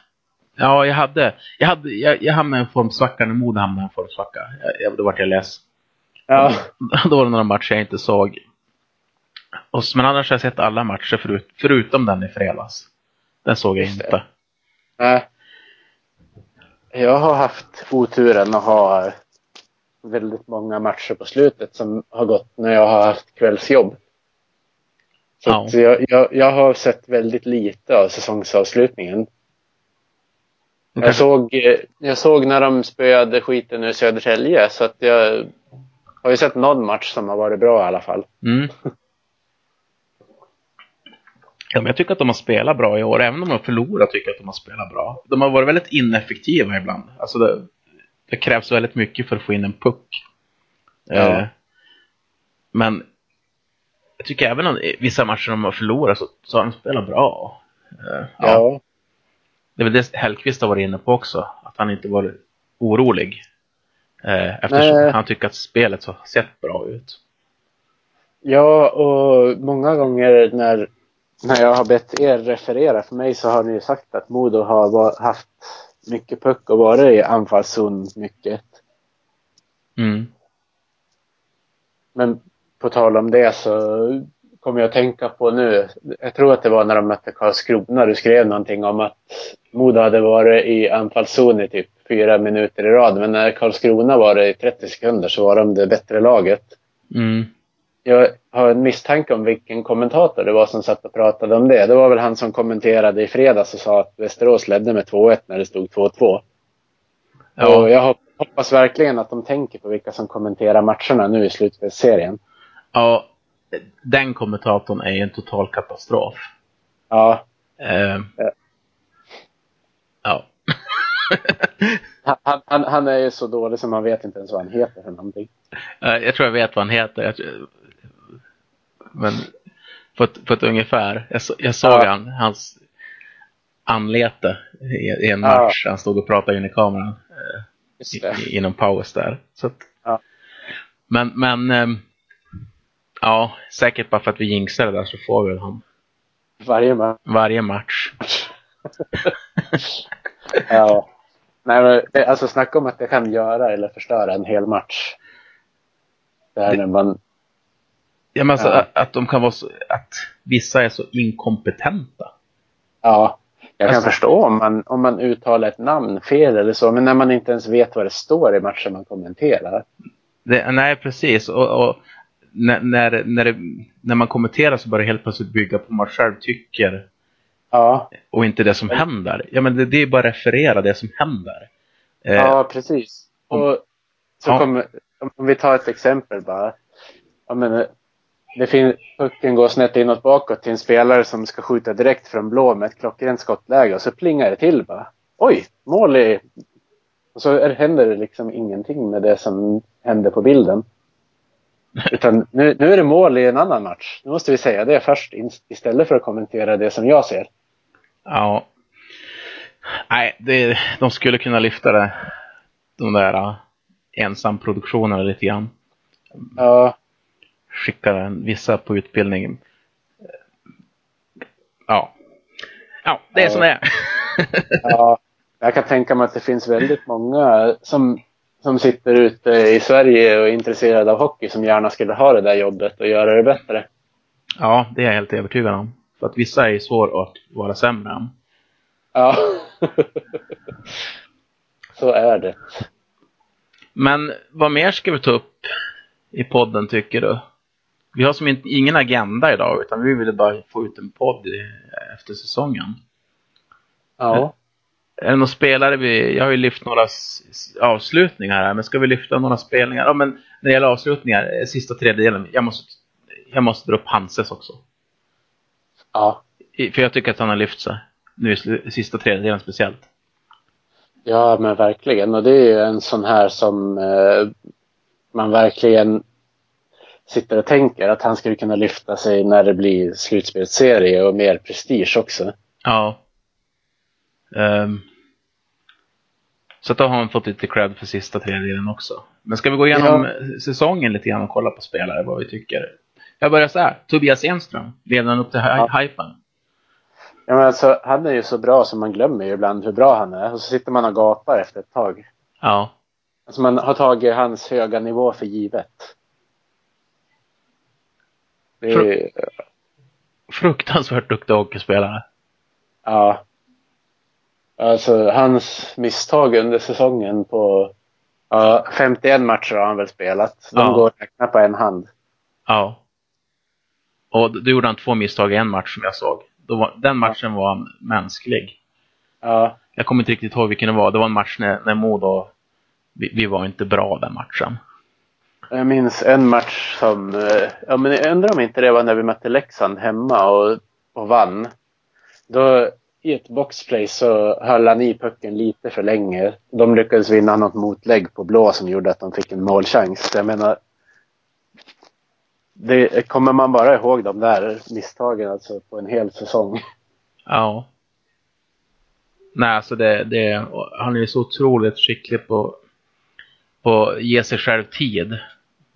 S3: Ja, jag hade... Jag, hade, jag, jag hamnade i en formsvacka när Modo hamnade i en formsvacka. Jag, jag, då vart jag less.
S4: Ja.
S3: (laughs) Då var det några matcher jag inte såg. Och, s- men annars har jag sett alla matcher förut, förutom den i fredags. Den såg jag
S4: Just det.
S3: inte.
S4: Nej. Jag har haft oturen att ha väldigt många matcher på slutet som har gått när jag har haft kvällsjobb. Så
S3: Ja.
S4: att jag, jag, jag har sett väldigt lite av säsongsavslutningen.
S3: Du
S4: Jag
S3: kanske,
S4: såg, eh, jag såg när de spöade skiten ur Södertälje så att jag har ju sett någon match som har varit bra i alla fall.
S3: mm. ja, men jag tycker att de har spelat bra i år. Även om de har förlorat tycker jag att de har spelat bra. De har varit väldigt ineffektiva ibland. Alltså det, det krävs väldigt mycket för att få in en puck.
S4: Ja.
S3: Eh, men jag tycker även om i vissa matcher de har förlorat så, så har de spelat bra. Eh,
S4: Ja.
S3: Det är väl det Hellkvist har varit inne på också, att han inte varit orolig. Eh, eftersom
S4: Nej.
S3: han tycker att spelet har sett bra ut.
S4: Ja, och många gånger när, när jag har bett er referera för mig så har ni ju sagt att Modo har va- haft mycket puck och varit i anfallszon mycket.
S3: Mm.
S4: Men på tal om det så kommer jag att tänka på nu, jag tror att det var när de mötte Karlskrona, du skrev någonting om att Modo hade varit i anfallszon i typ fyra minuter i rad, men när Karlskrona var det i 30 sekunder så var de det bättre laget.
S3: Mm.
S4: Jag har en misstanke om vilken kommentator det var som satt och pratade om det. Det var väl han som kommenterade i fredags och sa att Västerås ledde med 2-1 när det stod 2-2. Och
S3: Ja,
S4: jag hop- hoppas verkligen att de tänker på vilka som kommenterar matcherna nu i slutspelsserien.
S3: ja, den kommentatorn är ju en total katastrof.
S4: Ja,
S3: Eh, ja.
S4: han, han, han är ju så dålig som man vet inte ens vad han heter för någonting.
S3: Eh, Jag tror jag vet vad han heter. Jag tror- Men på ett, på ett ungefär. Jag, så, jag såg
S4: Ja.
S3: han, hans anlete i, i en
S4: Ja.
S3: match. Han stod och pratade in i kameran (laughs)
S4: Just det.
S3: i, i någon paus där. Så att,
S4: Ja.
S3: Men, men ehm, ja, säkert bara för att vi jinxade där så får vi väl han
S4: Varje match.
S3: varje match.
S4: Ja. Nej, men, det- alltså snacka om att det kan göra eller förstöra en hel match. Det här när man...
S3: Ja, men alltså,
S4: Ja.
S3: Att, att de kan vara så, att vissa är så inkompetenta.
S4: Ja. Jag kan
S3: Alltså-
S4: förstå om man, om man uttalar ett namn fel eller så, men när man inte ens vet vad det står i matchen man kommenterar.
S3: Det, nej, precis. Och, och när, när, när, det, när man kommenterar så börjar det helt plötsligt bygga på vad man själv tycker
S4: Ja,
S3: och inte det som händer. Ja, men det, det är bara att referera det som händer. Eh,
S4: ja precis.
S3: om-
S4: Och så
S3: Ja.
S4: kommer, om, om vi tar ett exempel bara. Ja, men, eh, det fin- pucken går snett inåt bakåt till en spelare som ska skjuta direkt från blå med ett klockrent skottläge och så plingar det till bara. Oj, mål i... Och så är- händer det liksom ingenting med det som händer
S3: (laughs)
S4: på bilden. Utan nu, nu är det mål i en annan match. Nu måste vi säga det först in- istället för att kommentera det som jag ser.
S3: Ja. Nej, det, de skulle kunna lyfta det. De där eh, ensamproduktionerna lite grann.
S4: Ja,
S3: Skicka den, vissa på utbildning. Ja. Ja, det är
S4: Ja.
S3: som det är.
S4: Ja, jag kan tänka mig att det finns väldigt många som, som sitter ute i Sverige och är intresserade av hockey som gärna skulle ha det där jobbet och göra det bättre.
S3: Ja, det är jag helt övertygad om. För att vissa är ju svåra att vara sämre än.
S4: Ja. (laughs) Så är det.
S3: Men vad mer ska vi ta upp i podden tycker du? Vi har som inte, ingen agenda idag utan vi ville bara få ut en podd i, efter säsongen.
S4: Ja.
S3: Är det några spelare vi, jag har ju lyft några s- s- avslutningar här men ska vi lyfta några spelningar? Ja men när det gäller avslutningar, eh, sista tredjedelen, jag måste, jag måste dra upp Hanses också.
S4: Ja.
S3: I, för jag tycker att han har lyft sig. Nu i slu- sista tredjedelen speciellt.
S4: Ja, men verkligen. Och det är ju en sån här som eh, man verkligen sitter och tänker att han skulle kunna lyfta sig när det blir slutspelsserie och mer prestige också.
S3: Ja. Ehm. så att då har han fått lite cred för sista tredjedelen också. Men ska vi gå igenom säsongen lite grann och kolla på spelare, vad vi tycker? Jag börjar så här. Tobias Enström, leder han upp till hy-
S4: Ja.
S3: hypen?
S4: Ja, men alltså, han är ju så bra så man glömmer ju ibland hur bra han är. Och så sitter man och gapar efter ett tag.
S3: Ja.
S4: Alltså man har tagit hans höga nivå för givet. Det är, ju-
S3: Fruktansvärt duktig hockeyspelare.
S4: ja. Alltså hans misstag under säsongen på ja, 51 matcher har han väl spelat. De
S3: Ja.
S4: går att räkna på en hand.
S3: Ja. Och d- då gjorde han två misstag i en match som jag såg. Då var, den matchen var han mänsklig.
S4: Ja,
S3: Jag kommer inte riktigt ihåg vilken det var. Det var en match när, när Modo... Vi, vi var inte bra den matchen.
S4: jag minns en match som, eh, ja men jag undrar om inte det var när vi mötte Leksand hemma och, och vann. Då i ett boxplay så höll han i pucken lite för länge. De lyckades vinna något motlägg på blå som gjorde att de fick en målchans. Jag menar, det, kommer man bara ihåg de där misstagen alltså på en hel säsong?
S3: Ja. Nej, alltså det, det, och han är ju så otroligt skicklig på, på att ge sig själv tid.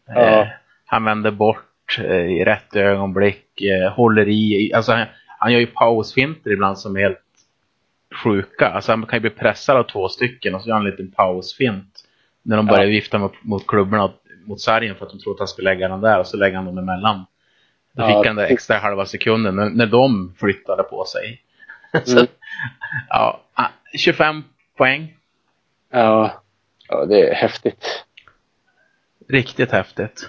S4: Ja.
S3: Eh, han vänder bort eh, i rätt ögonblick, eh, håller i. Alltså, han, han gör ju pausfinter ibland som är helt sjuka. Alltså, han kan ju bli pressad av två stycken och så gör han en liten pausfint. När de börjar
S4: Ja.
S3: vifta mot, mot klubborna, och mot sargen för att de tror att han ska lägga den där och så lägger han dem emellan. Då
S4: Ja,
S3: fick han den
S4: precis.
S3: extra halva sekunden när, när de flyttade på sig. Så,
S4: Mm.
S3: ja, ah, 25 poäng.
S4: Ja. ja, det är häftigt.
S3: Riktigt häftigt.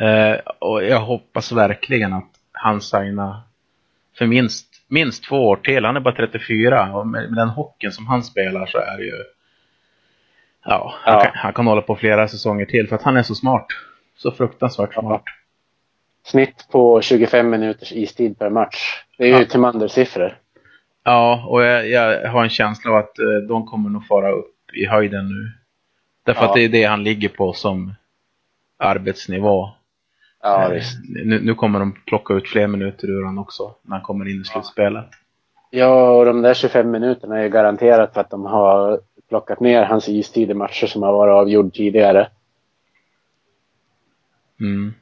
S3: Eh, och jag hoppas verkligen att han signar för minst, minst två år till. Han är bara 34 och med, med den hockeyn som han spelar så är det ju... Ja, han,
S4: Ja.
S3: Kan, han kan hålla på flera säsonger till för att han är så smart. Så fruktansvärt
S4: Ja.
S3: smart.
S4: Snitt på 25 minuters istid per match. Det är ju
S3: Ja.
S4: Timander-siffror.
S3: Ja, och jag, jag har en känsla av att eh, de kommer nog fara upp upp i höjden nu. Därför
S4: Ja.
S3: att det är det han ligger på som arbetsnivå.
S4: Ja,
S3: Eh,
S4: visst.
S3: Nu, nu kommer de plocka ut fler minuter ur honom också när han kommer in i slutspelet.
S4: Ja, och de där 25 minuterna är ju garanterat för att de har plockat ner hans istid i matcher som har varit avgjord tidigare.
S3: Mm.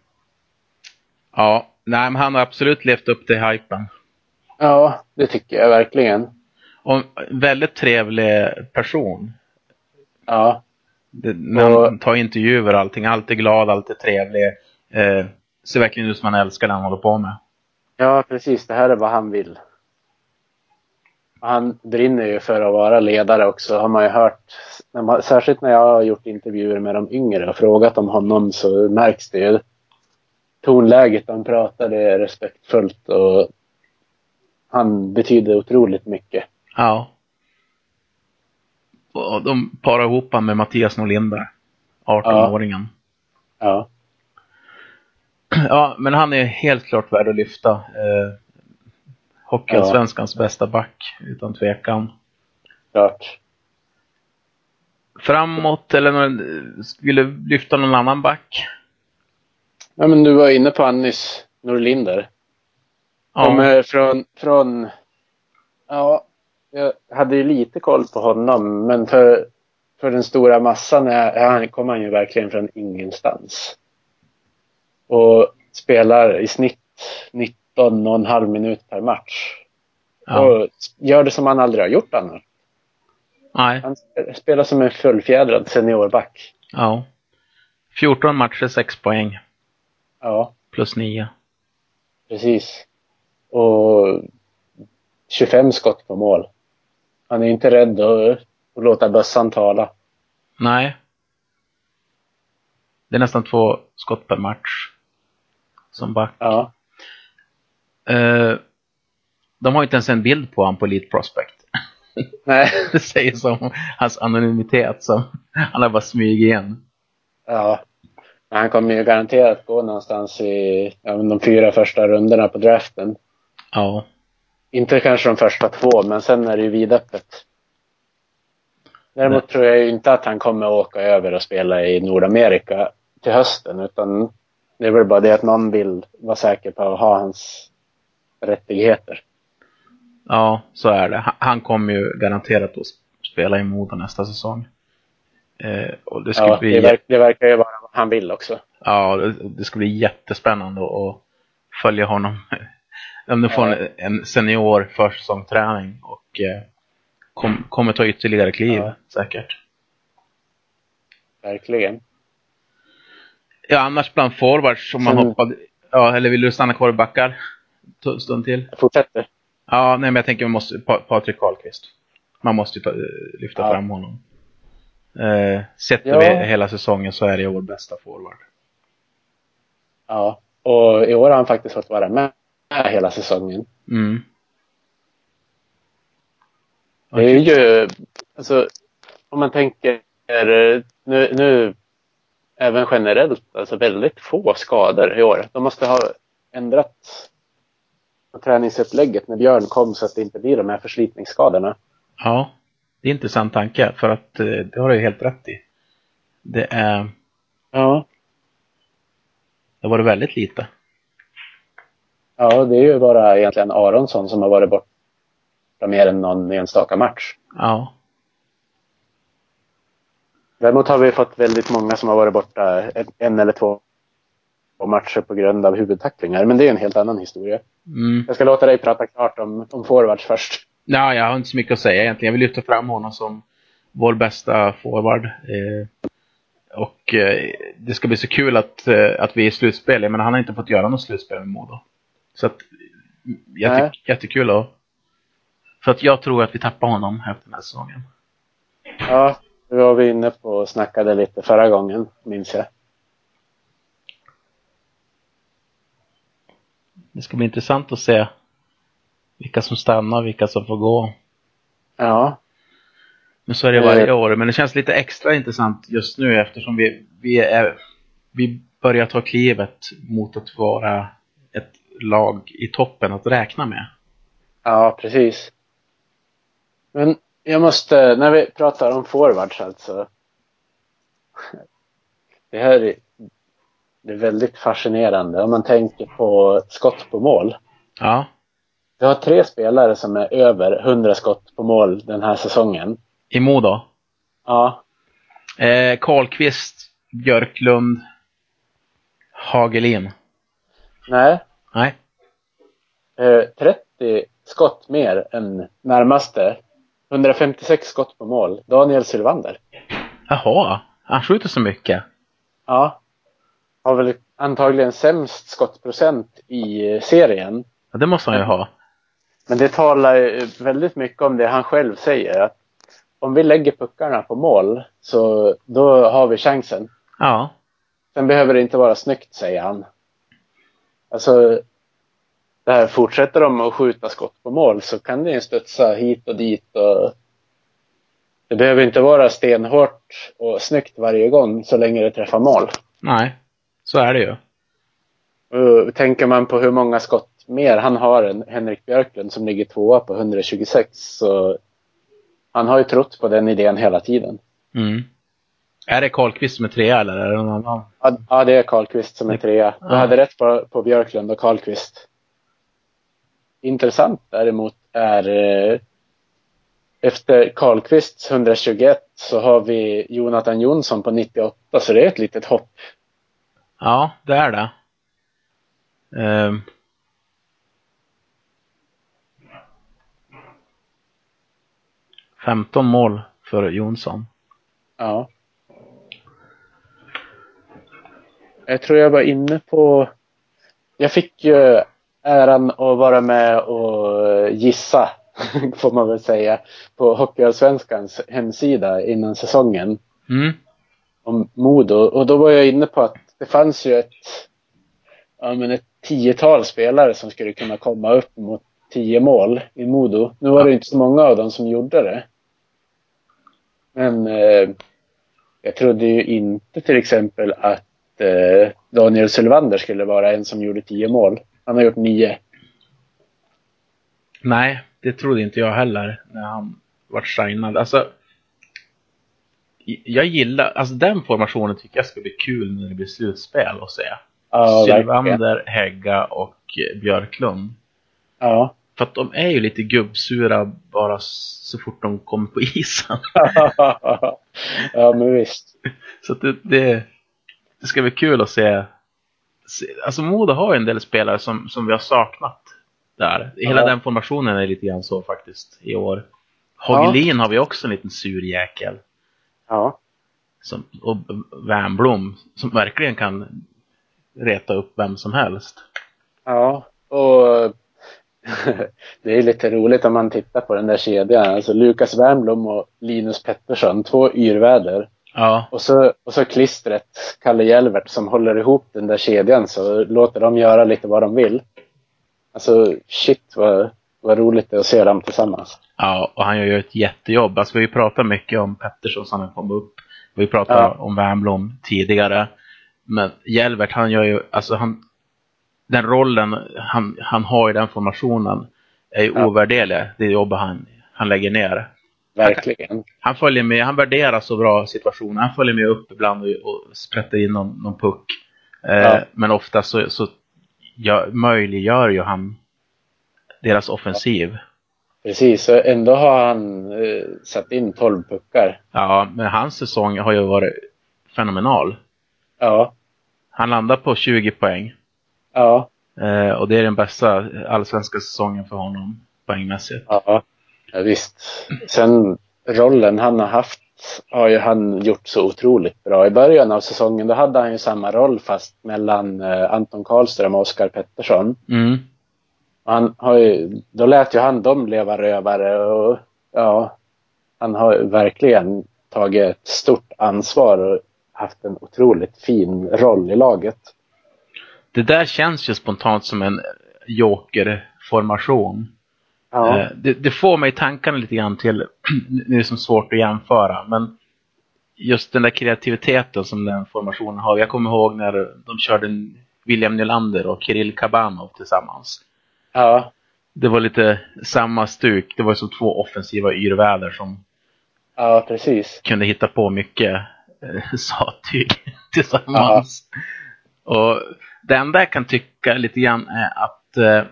S3: Ja, nej men han har absolut levt upp till hypen.
S4: Ja, det tycker jag verkligen.
S3: Och en väldigt trevlig person.
S4: Ja,
S3: Det, när han
S4: Och-
S3: tar intervjuer och allting. Alltid glad, alltid trevlig. Eh, ser verkligen ut som han älskar det han håller på med.
S4: ja precis. Det här är vad han vill. Och han brinner ju för att vara ledare också, har man ju hört. När man, särskilt när jag har gjort intervjuer med de yngre och frågat om honom så märks det ju. Tonläget han pratar, det är respektfullt och han betyder otroligt mycket.
S3: Ja. Och de parar ihop han med Mattias Norlinder. 18-åringen.
S4: Ja,
S3: Ja. men han är helt klart värd att lyfta. Eh, Hockeyallsvenskans bästa back, utan tvekan.
S4: klart.
S3: Framåt, eller någon, skulle lyfta någon annan back?
S4: Ja, men du var inne på han nyss, Norlinder.
S3: Ja.
S4: De är från, från... Ja, jag hade ju lite koll på honom, men för, för den stora massan är, är han, kommer han ju verkligen från ingenstans. Och spelar i snitt 19,5 minut per match.
S3: ja.
S4: Och gör det som han aldrig har gjort annars.
S3: Nej.
S4: Han spelar som en fullfjädrad seniorback.
S3: Ja. 14 matcher, 6 poäng.
S4: Ja.
S3: Plus 9.
S4: Precis. Och 25 skott på mål. Han är inte rädd att, att låta bössan tala.
S3: Nej. Det är nästan två skott per match. Som back.
S4: Ja.
S3: Eh, de har ju inte ens en bild på honom på Elite Prospect. (laughs)
S4: Nej.
S3: Det säger som om hans anonymitet som han har bara smugit in.
S4: Ja. Men han kommer ju garanterat gå någonstans i ja, men de fyra första rundorna på draften.
S3: Ja.
S4: Inte kanske de första två, men sen är det ju vidöppet. Däremot tror jag ju inte att han kommer åka över och spela i Nordamerika till hösten, utan det är väl bara det att någon vill vara säker på att ha hans rättigheter.
S3: Ja, så är det. Han- Han kommer ju garanterat att spela i Modo nästa säsong. Eh, och det ska
S4: Ja,
S3: bli...
S4: det, verk, det verkar ju vara vad han vill också.
S3: Ja, det- det ska bli jättespännande att- att följa honom. (laughs) Om du får en, en senior försäsongsträning och eh, kom, kommer ta ytterligare kliv
S4: Ja.
S3: säkert.
S4: Verkligen.
S3: Ja, annars bland forwards som man
S4: Sen-
S3: hoppade... Ja, eller vill du stanna kvar i backar? Ta en stund till.
S4: Jag fortsätter.
S3: Ja, nej men jag tänker man måste, pa, Patrik Karlqvist. Man måste ju ta, eh, lyfta
S4: Ja.
S3: fram honom. Eh, sett
S4: Ja.
S3: över hela säsongen så är det vår bästa forward.
S4: Ja. Och i år har han faktiskt fått vara med hela säsongen.
S3: Mm.
S4: Det är ju, alltså, om man tänker eh, nu, nu även generellt, alltså väldigt få skador i år. De måste ha ändrat på träningsupplägget när Björn kom så att det inte blir de här förslitningsskadorna.
S3: Ja, det är en intressant tanke för att eh, det har du ju helt rätt i. Det, är,
S4: Ja.
S3: det var det väldigt lite.
S4: Ja, det är ju bara egentligen Aronsson som har varit borta mer än någon enstaka match.
S3: Ja,
S4: Däremot har vi fått väldigt många som har varit borta en- en eller två matcher på grund av huvudtacklingar. Men det är en helt annan historia.
S3: mm.
S4: Jag ska låta dig prata klart om, om forwards först.
S3: Nej, jag har inte så mycket att säga egentligen. Jag vill lyfta fram honom som vår bästa forward. Eh, och eh, det ska bli så kul att, eh, att vi är i slutspel. Men han har inte fått göra något slutspel med Modo. Så att, mm, jätte,
S4: Nej.
S3: jättekul att... För att jag tror att vi tappar honom efter den här säsongen.
S4: Ja, det var vi inne på och snackade lite förra gången, minns jag.
S3: Det ska bli intressant att se vilka som stannar, vilka som får gå.
S4: Ja,
S3: Men så är det
S4: Eh.
S3: varje år. Men det känns lite extra intressant just nu eftersom vi, vi, är, vi börjar ta klivet mot att vara ett lag i toppen att räkna med.
S4: ja precis. Men Jag måste, när vi pratar om forwards alltså. Det här är, det är väldigt fascinerande om man tänker på skott på mål.
S3: Ja.
S4: Vi har tre spelare som är över 100 skott på mål den här säsongen.
S3: I Modo.
S4: Ja,
S3: Eh, Karlqvist, Björklund, Hagelin.
S4: nej.
S3: Nej.
S4: Eh, 30 skott mer än närmaste. 156 skott på mål. Daniel Sylvander.
S3: Jaha. Han skjuter så mycket.
S4: Ja. Har väl antagligen sämst skottprocent i eh, serien.
S3: Ja, det måste han ju ha.
S4: Men det talar ju väldigt mycket om det han själv säger. Att om vi lägger puckarna på mål så då har vi chansen.
S3: Ja.
S4: Sen behöver det inte vara snyggt, säger han. Alltså, det här fortsätter de att skjuta skott på mål så kan det ju studsa hit och dit. Och det behöver inte vara stenhårt och snyggt varje gång så länge det träffar mål.
S3: Nej. Så är det ju.
S4: Och tänker man på hur många skott mer han har än Henrik Björklund som ligger tvåa på 126 så han har ju trott på den idén hela tiden.
S3: Mm. Är det Karlqvist som är trea eller är det någon annan?
S4: Ja, Ja, det är Karlqvist som är trea. Du
S3: Ja.
S4: hade rätt på, på Björklund och Karlqvist. Intressant däremot är eh, efter Karlqvists 121 så har vi Jonathan Jonsson på 98 så det är ett litet hopp.
S3: Ja, det är det. Ehm. Femton mål för Jonsson.
S4: Ja. Jag tror jag var inne på... Jag fick ju äran att vara med och gissa, (laughs) får man väl säga, på Hockeyallsvenskans hemsida innan säsongen
S3: Mm.
S4: om Modo. Och då var jag inne på att det fanns ju ett, ja, men ett tiotal spelare som skulle kunna komma upp mot tio mål i Modo. Nu var det ju inte så många av dem som gjorde det. Men eh, jag trodde ju inte till exempel att eh, Daniel Sylvander skulle vara en som gjorde tio mål. Han har gjort nio.
S3: Nej, det trodde inte jag heller när han vart signad. Alltså, i- jag gillar, alltså den formationen tycker jag ska bli kul när det blir slutspel att se.
S4: Ja, verkligen.
S3: Sylvander, Hegga och eh, Björklund.
S4: Ja. (laughs)
S3: För att de är ju lite gubbsura bara s- så fort de kommer på isen.
S4: ja, men visst.
S3: Så att det, det, det ska bli kul att se. se alltså Modo har ju en del spelare som, som vi har saknat där. Hela
S4: Ja.
S3: den formationen är lite grann så faktiskt i år. Hagelin har vi också en liten sur jäkel.
S4: Ja.
S3: Som, och Wernbloom som verkligen kan reta upp vem som helst.
S4: Ja, och (laughs) det är lite roligt om man tittar på den där kedjan. Alltså Lukas Wernbloom och Linus Pettersson, två yrväder.
S3: Ja,
S4: Och så, och så klistret Kalle Hjelvert som håller ihop den där kedjan så låter dem göra lite vad de vill. Alltså shit vad, vad roligt det är att se dem tillsammans.
S3: ja och han gör ju ett jättejobb. Alltså, vi har ju pratat mycket om Pettersson som han kom upp. Vi pratade
S4: Ja.
S3: om Wernbloom tidigare. Men Jelvert, han gör ju, alltså han, den rollen han, han har i den formationen är ju
S4: Ja.
S3: ovärderlig. Det jobb han, han lägger ner.
S4: Verkligen.
S3: Han följer med, han värderar så bra situationer. Han följer med upp ibland och, och sprätter in någon, någon puck. Eh,
S4: Ja.
S3: Men ofta så, så gör, möjliggör ju han deras offensiv.
S4: Precis, och ändå har han eh, satt in 12 puckar.
S3: Ja, men hans säsong har ju varit fenomenal.
S4: Ja,
S3: Han landar på 20 poäng.
S4: ja,
S3: Eh, och det är den bästa allsvenska säsongen för honom poängmässigt.
S4: Ja, ja visst. Sen rollen han har haft har ju han gjort så otroligt bra. I början av säsongen då hade han ju samma roll fast mellan eh, Anton Karlström och Oskar Pettersson.
S3: Mm.
S4: Och Han har ju, då lät ju han dem leva rövare och ja, han har ju verkligen tagit ett stort ansvar och haft en otroligt fin roll i laget.
S3: Det där känns ju spontant som en joker-formation.
S4: Ja,
S3: Eh, Det, det får mig i tankarna lite grann till, (clears throat) nu är det som svårt att jämföra, men just den där kreativiteten som den formationen har. Jag kommer ihåg när de körde William Nylander och Kirill Kabanov tillsammans.
S4: ja,
S3: det var lite samma stuk. Det var som två offensiva yrväder som
S4: Ja, precis.
S3: kunde hitta på mycket eh, (laughs) sattyg tillsammans. Och det enda jag kan tycka lite grann är att eh,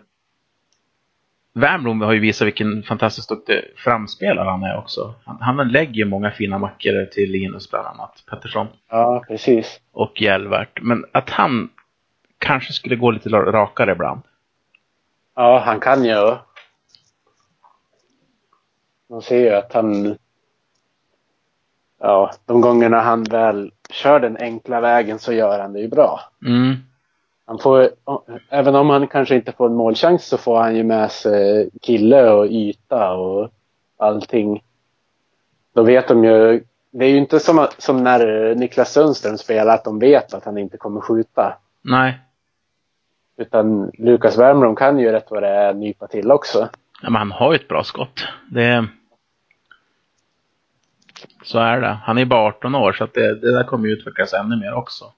S3: Wernbloom har ju visat vilken fantastiskt duktig framspelare han är också. Han, han lägger ju många fina mackor till Linus bland annat, Pettersson
S4: Ja, precis.
S3: och Jelvert. Men att han kanske skulle gå lite la- rakare ibland.
S4: Ja, han kan ju. Man ser ju att han... Ja, de gångerna han väl kör den enkla vägen så gör han det ju bra.
S3: Mm.
S4: Han får, även om han kanske inte får en målchans så får han ju med sig kille och yta och allting. Då vet de ju. Det är ju inte som, som när Niklas Sundström spelar att de vet att han inte kommer skjuta.
S3: Nej,
S4: Utan Lukas Wernbloom kan ju rätt vad det är nypa till också.
S3: Ja, men han har ju ett bra skott. Det... Så är det. Han är bara 18 år så att det, det där kommer ju utvecklas ännu mer också.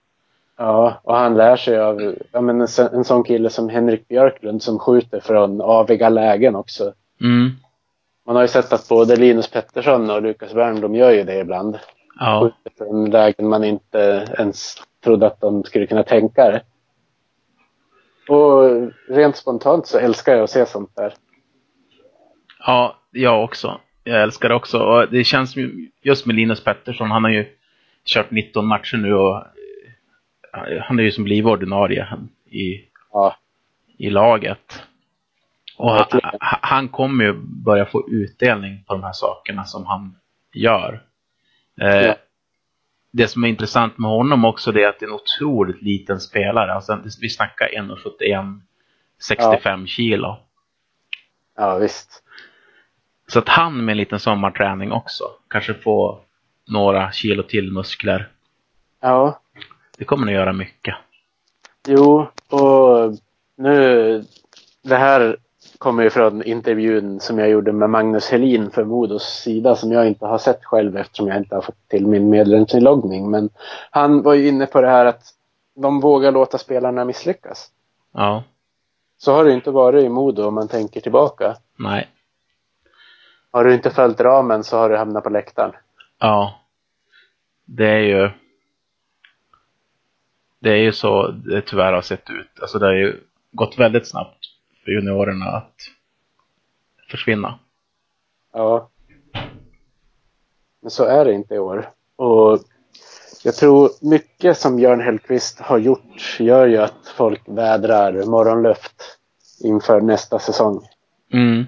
S4: Ja, och han lär sig av ja, men en, så- en sån kille som Henrik Björklund som skjuter från aviga lägen också.
S3: Mm.
S4: Man har ju sett att både Linus Pettersson och Lukas Wernbloom gör ju det ibland.
S3: Ja.
S4: skjuter från lägen man inte ens trodde att de skulle kunna tänka det. Och rent spontant så älskar jag att se sånt där.
S3: ja, jag också. Jag älskar det också. Och det känns ju, just med Linus Pettersson, han har ju kört 19 matcher nu och eh, han är ju som blivit ordinarie han- i,
S4: Ja,
S3: i laget. Och han,
S4: Verkligen.
S3: han- han kommer ju börja få utdelning på de här sakerna som han gör. Eh,
S4: Ja.
S3: Det som är intressant med honom också det är att det är en otroligt liten spelare. Alltså, vi snackar 1,71, 65 kilo.
S4: ja visst.
S3: Så att han med en liten sommarträning också kanske får några kilo till muskler.
S4: Ja,
S3: Det kommer att göra mycket.
S4: jo, och nu... Det här kommer ju från intervjun som jag gjorde med Magnus Helin för Modos sida som jag inte har sett själv eftersom jag inte har fått till min medlemsinloggning. Men han var ju inne på det här att de vågar låta spelarna misslyckas.
S3: Ja,
S4: Så har det ju inte varit i Modo om man tänker tillbaka.
S3: nej,
S4: Har du inte följt ramen så har du hamnat på läktaren.
S3: Ja. Det är ju... Det är ju så det tyvärr har sett ut. Alltså det har ju gått väldigt snabbt för juniorerna att försvinna.
S4: Ja. Men så är det inte i år. Och jag tror mycket som Björn Hellkvist har gjort gör ju att folk vädrar morgonluft inför nästa säsong.
S3: Mm.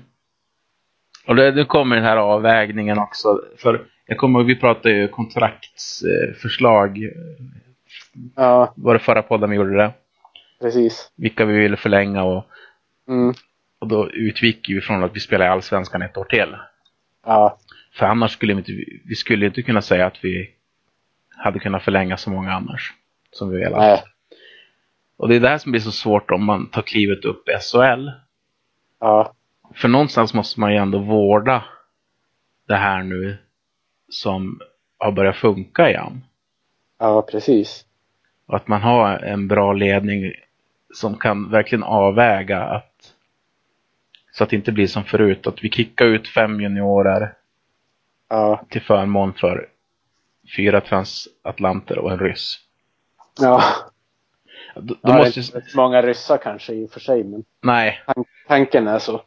S3: Och det, nu kommer den här avvägningen också. För jag kommer ihåg, vi pratade ju kontraktsförslag.
S4: Ja,
S3: Var det förra podden vi gjorde det?
S4: precis.
S3: Vilka vi ville förlänga och,
S4: Mm.
S3: och då utgick vi från att vi spelar i Allsvenskan ett år till.
S4: Ja,
S3: För annars skulle vi inte, vi skulle inte kunna säga att vi hade kunnat förlänga så många annars. Som vi velat.
S4: nej.
S3: Och det är det här som blir så svårt om man tar klivet upp i SHL.
S4: Ja,
S3: För någonstans måste man ju ändå vårda det här nu som har börjat funka igen.
S4: ja precis.
S3: Och att man har en bra ledning som kan verkligen avväga att så att det inte blir som förut, att vi kickar ut fem juniorer
S4: Ja,
S3: till förmån för fyra transatlanter och en ryss.
S4: ja.
S3: Då, då
S4: ja det är
S3: måste...
S4: inte så många ryssar kanske i och för sig, men
S3: Nej,
S4: tan- tanken är så.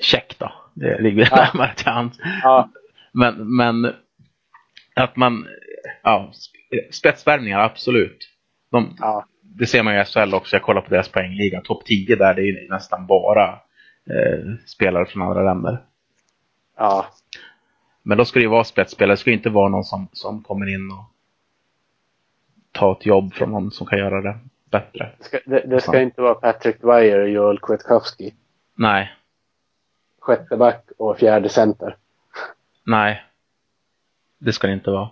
S3: check då. Det ligger
S4: Ja.
S3: närmare till hands.
S4: Ja,
S3: Men, men att man... Ja, spetsvärvningar, absolut. De,
S4: ja,
S3: det ser man ju i SHL också. Jag kollar på deras poängliga. Topp 10 där, det är ju nästan bara eh, spelare från andra länder.
S4: ja.
S3: Men då ska det ju vara spetsspelare. Det ska ju inte vara någon som, som kommer in och tar ett jobb från någon som kan göra det bättre.
S4: Det ska, det, det ska inte vara Patrick Dwyer och Joel Kwiatkowski.
S3: Nej,
S4: Sjätte back och fjärde center.
S3: nej. Det ska det inte vara.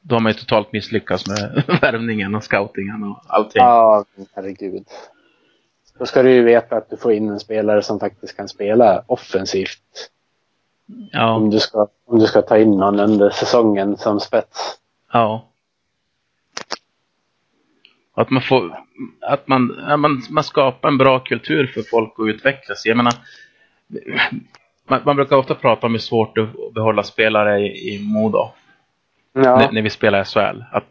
S3: Då har man ju totalt misslyckats med (laughs) värvningen och scoutingen och allting.
S4: Ja, men herregud. Då ska du ju veta att du får in en spelare som faktiskt kan spela offensivt.
S3: ja.
S4: Om, du ska, om du ska ta in någon under säsongen som spets.
S3: Ja. Att man får, att man, ja, man, man skapar en bra kultur för folk att utvecklas i. Jag menar, man, man brukar ofta prata om hur svårt det är att behålla spelare i, i Modo.
S4: Ja.
S3: När, när vi spelar SHL. Att,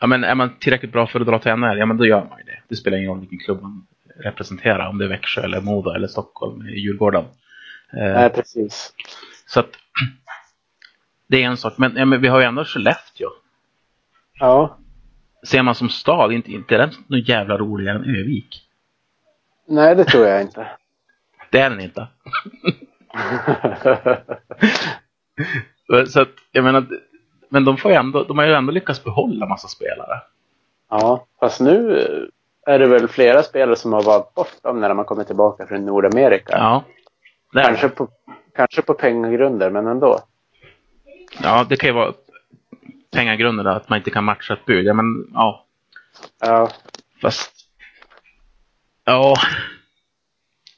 S3: ja, men är man tillräckligt bra för att dra till NHL, ja men då gör man ju det. Det spelar ingen roll vilken klubb man representerar. Om det är Växjö eller Modo eller Stockholm, Djurgården. Eh,
S4: Nej, precis.
S3: Så att (clears throat) det är en sak. Men, ja, men vi har ju ändå Skellefteå.
S4: Ja.
S3: Ser man som stad, inte, inte är den någon jävla roligare än Övik.
S4: Nej, det tror jag inte. (laughs)
S3: Det är den inte. Eh, Så att, jag menar, men de, får ju ändå, de har ju ändå lyckats behålla massa spelare.
S4: ja, fast nu eh, är det väl flera spelare som har varit borta när man kommer tillbaka från Nordamerika.
S3: Ja. Det, är,
S4: Kanske, på, kanske på pengagrunder, men ändå.
S3: ja, det kan ju vara pengagrunden där, att man inte kan matcha ett bud. Ja, men ja,
S4: Ja,
S3: fast... Ja,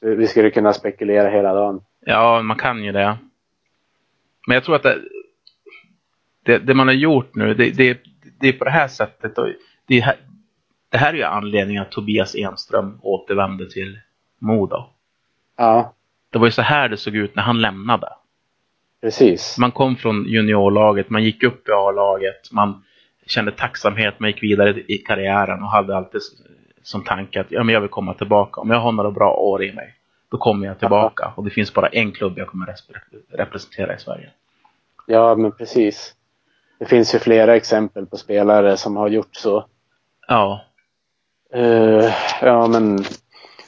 S4: vi vi skulle kunna spekulera hela dagen.
S3: Ja, man kan ju det. Men jag tror att det, det, det man har gjort nu, det, det, det är på det här sättet. Och det, är här, det här är ju anledningen att Tobias Enström återvände till Modo.
S4: Ja,
S3: Det var ju så här det såg ut när han lämnade.
S4: precis.
S3: Man kom från juniorlaget, man gick upp i A-laget, man kände tacksamhet, man gick vidare i karriären och hade alltid som tanke att ja, men jag vill komma tillbaka. Om jag har några bra år i mig, då kommer jag tillbaka. Och det finns bara en klubb jag kommer resp- representera i Sverige.
S4: Ja, men precis. Det finns ju flera exempel på spelare som har gjort så.
S3: Ja,
S4: Eh, ja, men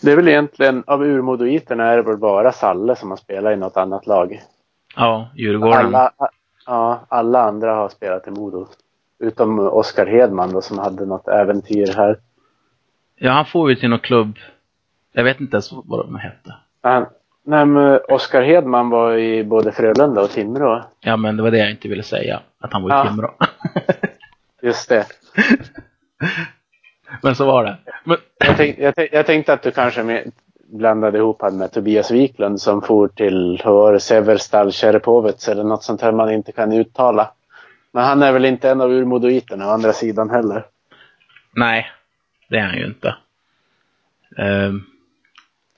S4: det är väl egentligen av urmodoiterna är det väl bara Salle som har spelat i något annat lag.
S3: ja, Djurgården.
S4: Alla, ja, alla andra har spelat i Modo. Utom Oskar Hedman då, som hade något äventyr här.
S3: Ja, han får ju till någon klubb. Jag vet inte ens vad de hette.
S4: Han, nej, men Oskar Hedman var i både Frölunda och Timrå.
S3: Ja, men det var det jag inte ville säga. Att han var i
S4: Ja.
S3: Timrå. (laughs)
S4: Just det.
S3: men så var det. Men,
S4: Jag, tänk, jag, tänk, jag tänkte att du kanske med, blandade ihop han med Tobias Wiklund som for till vad var det, Severstal Cherepovets eller något sånt här man inte kan uttala. Men han är väl inte en av urmodoiterna å andra sidan heller.
S3: Nej, det är han ju inte. Ehm,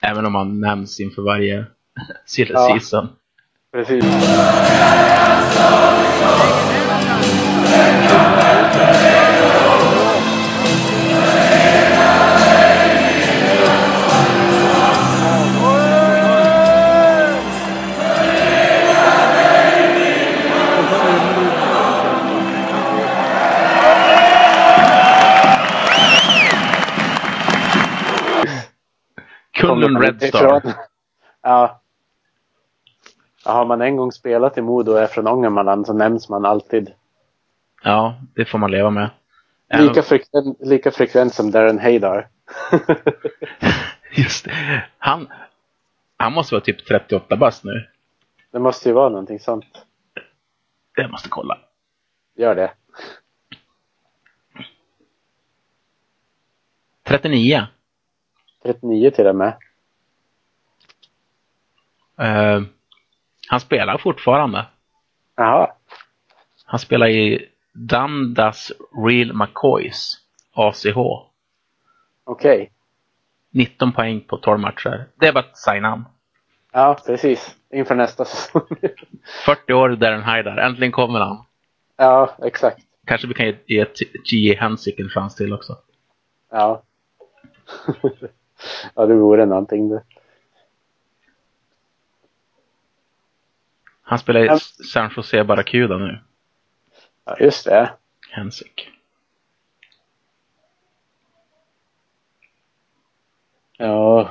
S3: även om han nämns inför varje (laughs) se-
S4: Ja.
S3: season.
S4: Precis.
S3: Kullen Red Star.
S4: Ifrån- Ja. Ja, Har man en gång spelat i Modo och är från Ångermanland så nämns man alltid.
S3: Ja, det får man leva med. (laughs) Även-
S4: Lika frekvent, lika frekvent som Darren Haydar. (laughs)
S3: Just det. Han, han måste vara typ 38 bast nu.
S4: det måste ju vara någonting sånt.
S3: Jag måste kolla.
S4: Gör det.
S3: 39.
S4: 39 till och med.
S3: Ehm, han spelar fortfarande.
S4: Jaha.
S3: Han spelar i Dundas Real McCoys ACH.
S4: Okej.
S3: 19 poäng på 12 matcher. Det är bara att signa han.
S4: Ja, precis. Inför nästa säsong. (laughs)
S3: 40 år Darren Haidar. Äntligen kommer han.
S4: ja, exakt.
S3: Kanske vi kan ge- ge T- G. Hansik en chans till också.
S4: Ja. (laughs) ja, det vore någonting det.
S3: Han spelar i
S4: Ja.
S3: S- San Jose Barracuda nu,
S4: Ja, just det.
S3: Hansik.
S4: Ja,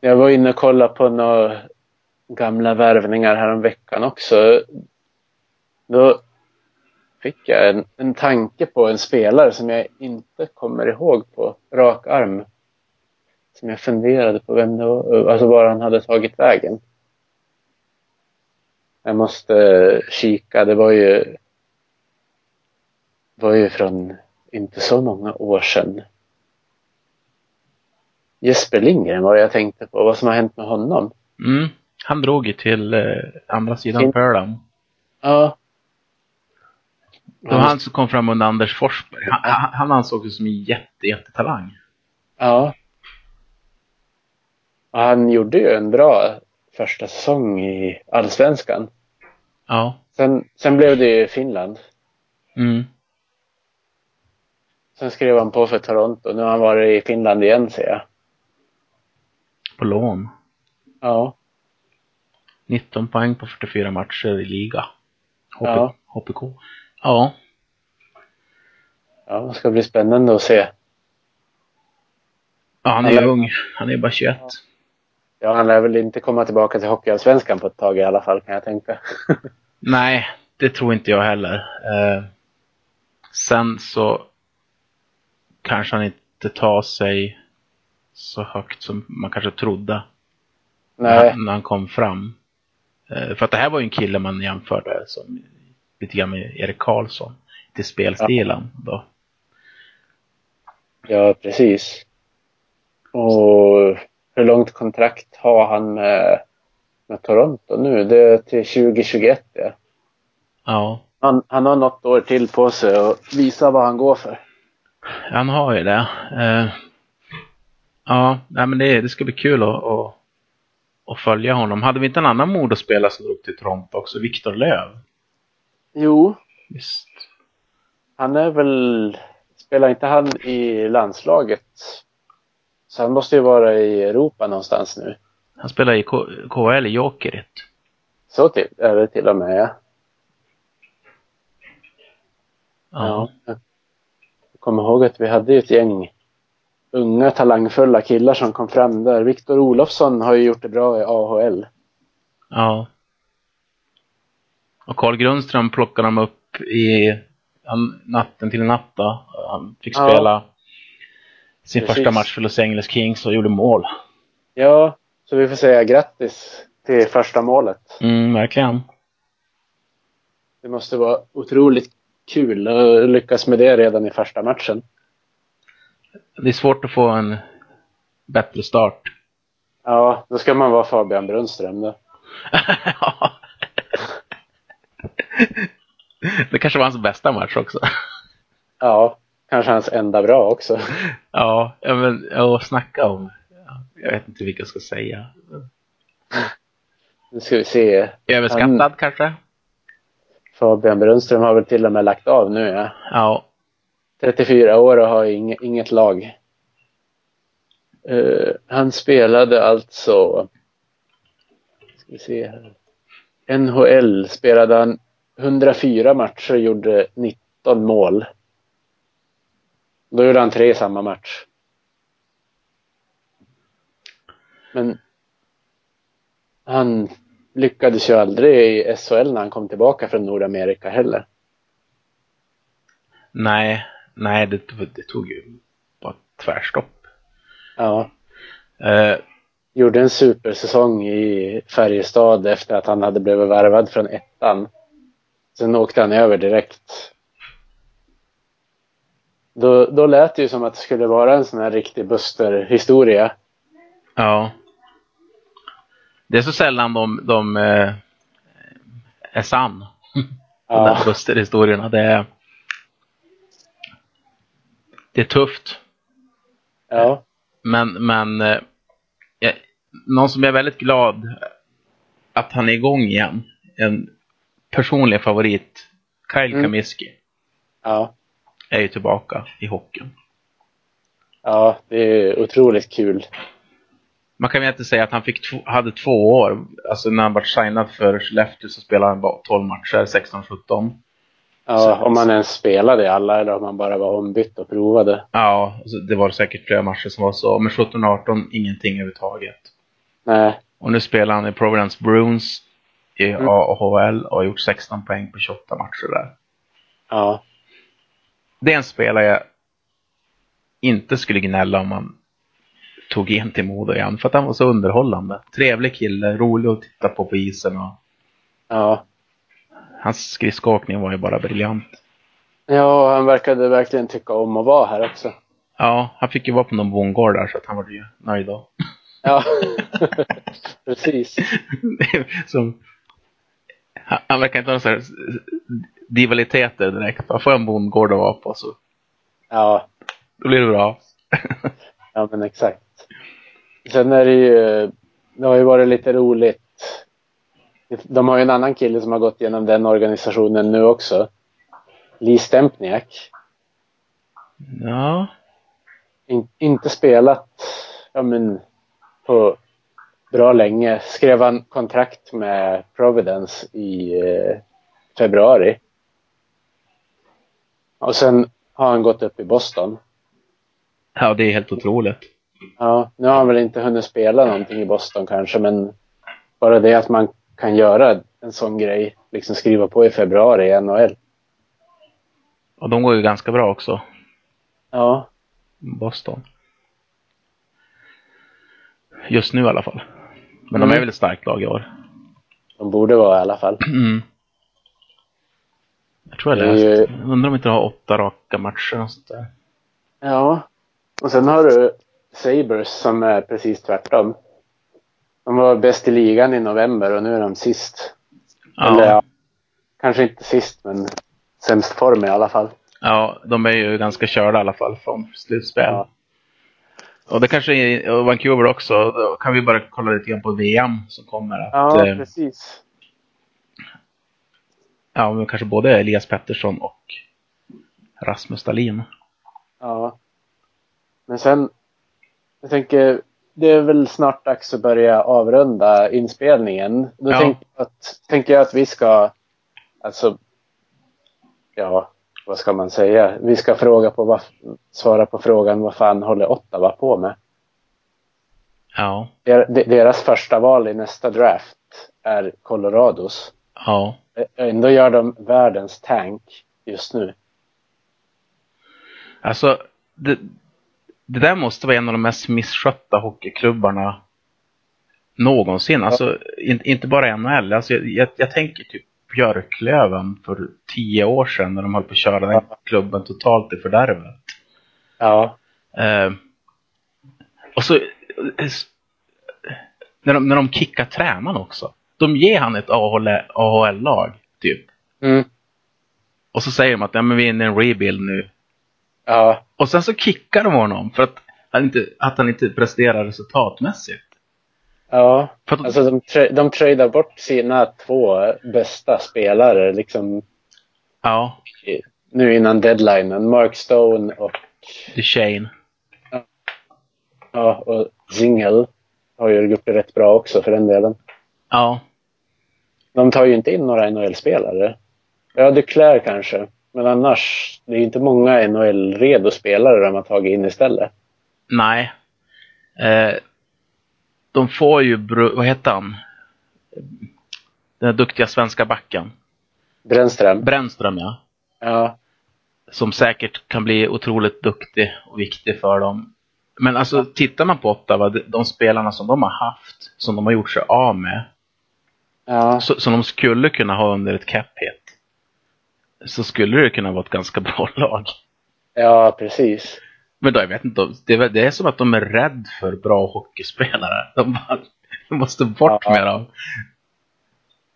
S4: jag var inne och kollade på några gamla värvningar häromveckan också. Då fick jag en, en tanke på en spelare som jag inte kommer ihåg på rak arm. Som jag funderade på vem det var, alltså var han hade tagit vägen. Jag måste eh, kika, det var ju, var ju från inte så många år sedan. Jesper Lindgren var det jag tänkte på, vad som har hänt med honom.
S3: Mm. Han drog ju till eh, andra sidan
S4: Fin-
S3: pölen.
S4: Ja.
S3: Det var han som kom fram under Anders Forsberg. Han, han- han ansågs som en jätte, jättetalang.
S4: Ja. Ja, Han gjorde ju en bra första säsong i Allsvenskan.
S3: Ja.
S4: Sen, sen blev det ju Finland.
S3: Mm.
S4: Sen skrev han på för Toronto. Nu har han varit i Finland igen ser jag.
S3: På lån.
S4: Ja.
S3: 19 poäng på 44 matcher i liga. HP,
S4: Ja.
S3: HPK. Ja.
S4: ja det ska bli spännande att se.
S3: ja, han är ju
S4: Eller-
S3: ung. Han är ju bara 21.
S4: Ja, han lär väl inte komma tillbaka till Hockeyallsvenskan på ett tag i alla fall kan jag tänka.
S3: Nej, det tror inte jag heller. Eh, sen så kanske han inte tar sig så högt som man kanske trodde när,
S4: Nej.
S3: han- när han kom fram. Eh, för att det här var ju en kille man jämförde som, lite grann med Erik Karlsson till spelstilen. Då.
S4: Ja, precis. Och hur långt kontrakt har han med, med Toronto nu? Det är till 2021. Ja.
S3: Ja,
S4: Han, han har något år till på sig och visa vad han går för.
S3: han har ju det. Eh, ja, nej, men det, det ska bli kul att, att, att följa honom. Hade vi inte en annan Modospelare som drog till Toronto också? Viktor Löv.
S4: Jo,
S3: Visst.
S4: han är väl... Spelar inte han i landslaget? Så han måste ju vara i Europa någonstans nu.
S3: Han spelar i K- KHL i Jokerit.
S4: Så till, är det till och med, ja.
S3: Ja.
S4: Jag kommer ihåg att vi hade ju ett gäng unga talangfulla killar som kom fram där. Viktor Olofsson har ju gjort det bra i AHL.
S3: ja. Och Carl Grundström plockade de upp i han, natten till natta. Han fick
S4: Ja.
S3: spela sin
S4: Precis.
S3: första match för Los Angeles Kings och gjorde mål.
S4: Ja, så vi får säga grattis till första målet.
S3: Mm, verkligen.
S4: Det måste vara otroligt kul att lyckas med det redan i första matchen.
S3: Det är svårt att få en bättre start. (laughs)
S4: Ja, då ska man vara Fabian Brunnström då.
S3: Ja. Det kanske var hans bästa match också.
S4: Ja, kanske hans enda bra också.
S3: Ja, ja, men ja, snacka om. ja, Jag vet inte vilka jag ska säga.
S4: Nu ska vi se.
S3: Överskattad
S4: Han-
S3: kanske?
S4: Fabian Brunnström har väl till och med lagt av nu ja.
S3: Ja.
S4: 34 år och har ing- inget lag. Eh, han spelade alltså... Ska vi se här. NHL spelade han 104 matcher och gjorde 19 mål. Då gjorde han tre i samma match. Men han lyckades ju aldrig i SHL när han kom tillbaka från Nordamerika heller.
S3: Nej, nej det, det tog ju bara tvärstopp.
S4: Ja.
S3: Eh,
S4: gjorde en supersäsong i Färjestad efter att han hade blivit värvad från ettan. Sen åkte han över direkt. Då, då lät det ju som att det skulle vara en sån här riktig Buster-historia.
S3: ja. Det är så sällan de, de eh, är sann. De
S4: Ja,
S3: där Buster-historierna. Det är, det är tufft.
S4: ja,
S3: Men, men eh, jag, någon som jag är väldigt glad att han är igång igen. En personlig favorit. Kyle
S4: Mm.
S3: Kamiski
S4: ja,
S3: är ju tillbaka i hockeyn.
S4: ja, det är otroligt kul.
S3: Man kan väl inte säga att han fick två, hade två år. Alltså när han var signad för Skellefteå så spelade han bara 12 matcher, 16-17.
S4: Ja, om man ens spelade i alla eller om man bara var ombytt och provade.
S3: Ja, alltså det var säkert flera matcher som var så. Men 17-18, ingenting överhuvudtaget.
S4: Nej,
S3: Och nu spelar han i Providence Bruins i AHL och har gjort 16 poäng på 28 matcher där.
S4: ja,
S3: Det är en spelare jag inte skulle gnälla om man tog in till Modo igen. För att han var så underhållande. Trevlig kille, rolig att titta på på isen. Och
S4: ja.
S3: hans skridskoåkning var ju bara briljant.
S4: Ja, han verkade verkligen tycka om att vara här också.
S3: Ja, han fick ju vara på någon bondgård där så att han var ju nöjd då. (laughs)
S4: Ja, (laughs) precis.
S3: Som, han, han verkar inte ha någon sån här Divaliteter direkt. Bara få en bondgård att vara på så
S4: Ja,
S3: då blir det bra.
S4: ja men exakt. Sen är det ju, det har ju varit lite roligt. De har ju en annan kille som har gått igenom den organisationen nu också. Lee Stempniak.
S3: Ja.
S4: In, inte spelat, ja men, på bra länge. Skrev han kontrakt med Providence i eh, februari. Och sen har han gått upp i Boston.
S3: Ja, det är helt otroligt.
S4: Ja, nu har han väl inte hunnit spela någonting i Boston kanske, men bara det att man kan göra en sån grej, liksom skriva på i februari i NHL.
S3: Och de går ju ganska bra också.
S4: Ja,
S3: Boston. Just nu i alla fall. Men de
S4: Mm.
S3: är väl ett starkt lag i år. (clears throat)
S4: de borde vara i alla fall.
S3: Mm. Jag tror jag
S4: Det är ju-
S3: läst. Undrar om inte de har åtta raka matcher och sånt där.
S4: Ja, och sen har du Sabres som är precis tvärtom. De var bäst i ligan i november och nu är de sist. Eller
S3: Ja,
S4: ja, kanske inte sist, men sämst form i alla fall.
S3: ja, de är ju ganska körda i alla fall från slutspel.
S4: Ja.
S3: Och det kanske är och Vancouver också. Då kan vi bara kolla lite grann på VM som kommer. Att,
S4: Ja,
S3: eh,
S4: precis.
S3: ja, men kanske både Elias Pettersson och Rasmus Dahlin.
S4: Ja. Men sen, jag tänker, det är väl snart dags att börja avrunda inspelningen. Då
S3: Ja.
S4: tänker, jag att, tänker jag att vi ska, alltså, ja, vad ska man säga? Vi ska fråga på vad, svara på frågan vad fan håller Ottawa på med?
S3: Ja,
S4: Der- de- Deras första val i nästa draft är Colorados.
S3: ja.
S4: Ä- Ändå gör de världens tank just nu.
S3: Alltså, det, det där måste vara en av de mest misskötta hockeyklubbarna någonsin. Alltså, in, inte bara NHL. Alltså, jag, jag, jag tänker typ Björklöven för tio år sedan när de höll på att köra den klubben totalt i fördärvet.
S4: Ja.
S3: Eh, och så... eh, s- När de, när de kickar tränaren också. De ger han ett AHL AHL-lag, typ.
S4: Mm.
S3: Och så säger de att ja, men vi är inne i en rebuild nu.
S4: Ja.
S3: Och sen så kickar de honom för att han inte, att han inte presterar resultatmässigt.
S4: Ja.
S3: För att,
S4: Alltså de, tra- de tradar bort sina två bästa spelare liksom
S3: ja,
S4: nu innan deadlinen. Mark Stone och,
S3: Duchene.
S4: ja, och Zingle har ju gjort det rätt bra också för den delen.
S3: Ja,
S4: De tar ju inte in några NHL-spelare. Ja, Duclair kanske. Men annars, det är ju inte många NHL-redo spelare de har tagit in istället.
S3: nej. Eh, de får ju, Bru- vad heter han? Den här duktiga svenska backen.
S4: Brännström.
S3: Brännström, ja.
S4: Ja.
S3: som säkert kan bli otroligt duktig och viktig för dem. Men alltså tittar man på Ottawa, de- de spelarna som de har haft, som de har gjort sig av med,
S4: Ja.
S3: så, som de skulle kunna ha under ett cap hit, så skulle det kunna vara ett ganska (laughs) bra lag.
S4: ja, precis.
S3: Men då, jag vet inte, de- det är, väl- det är som att de är rädd för bra hockeyspelare. (laughs) De bara, de måste bort
S4: Ja.
S3: med dem.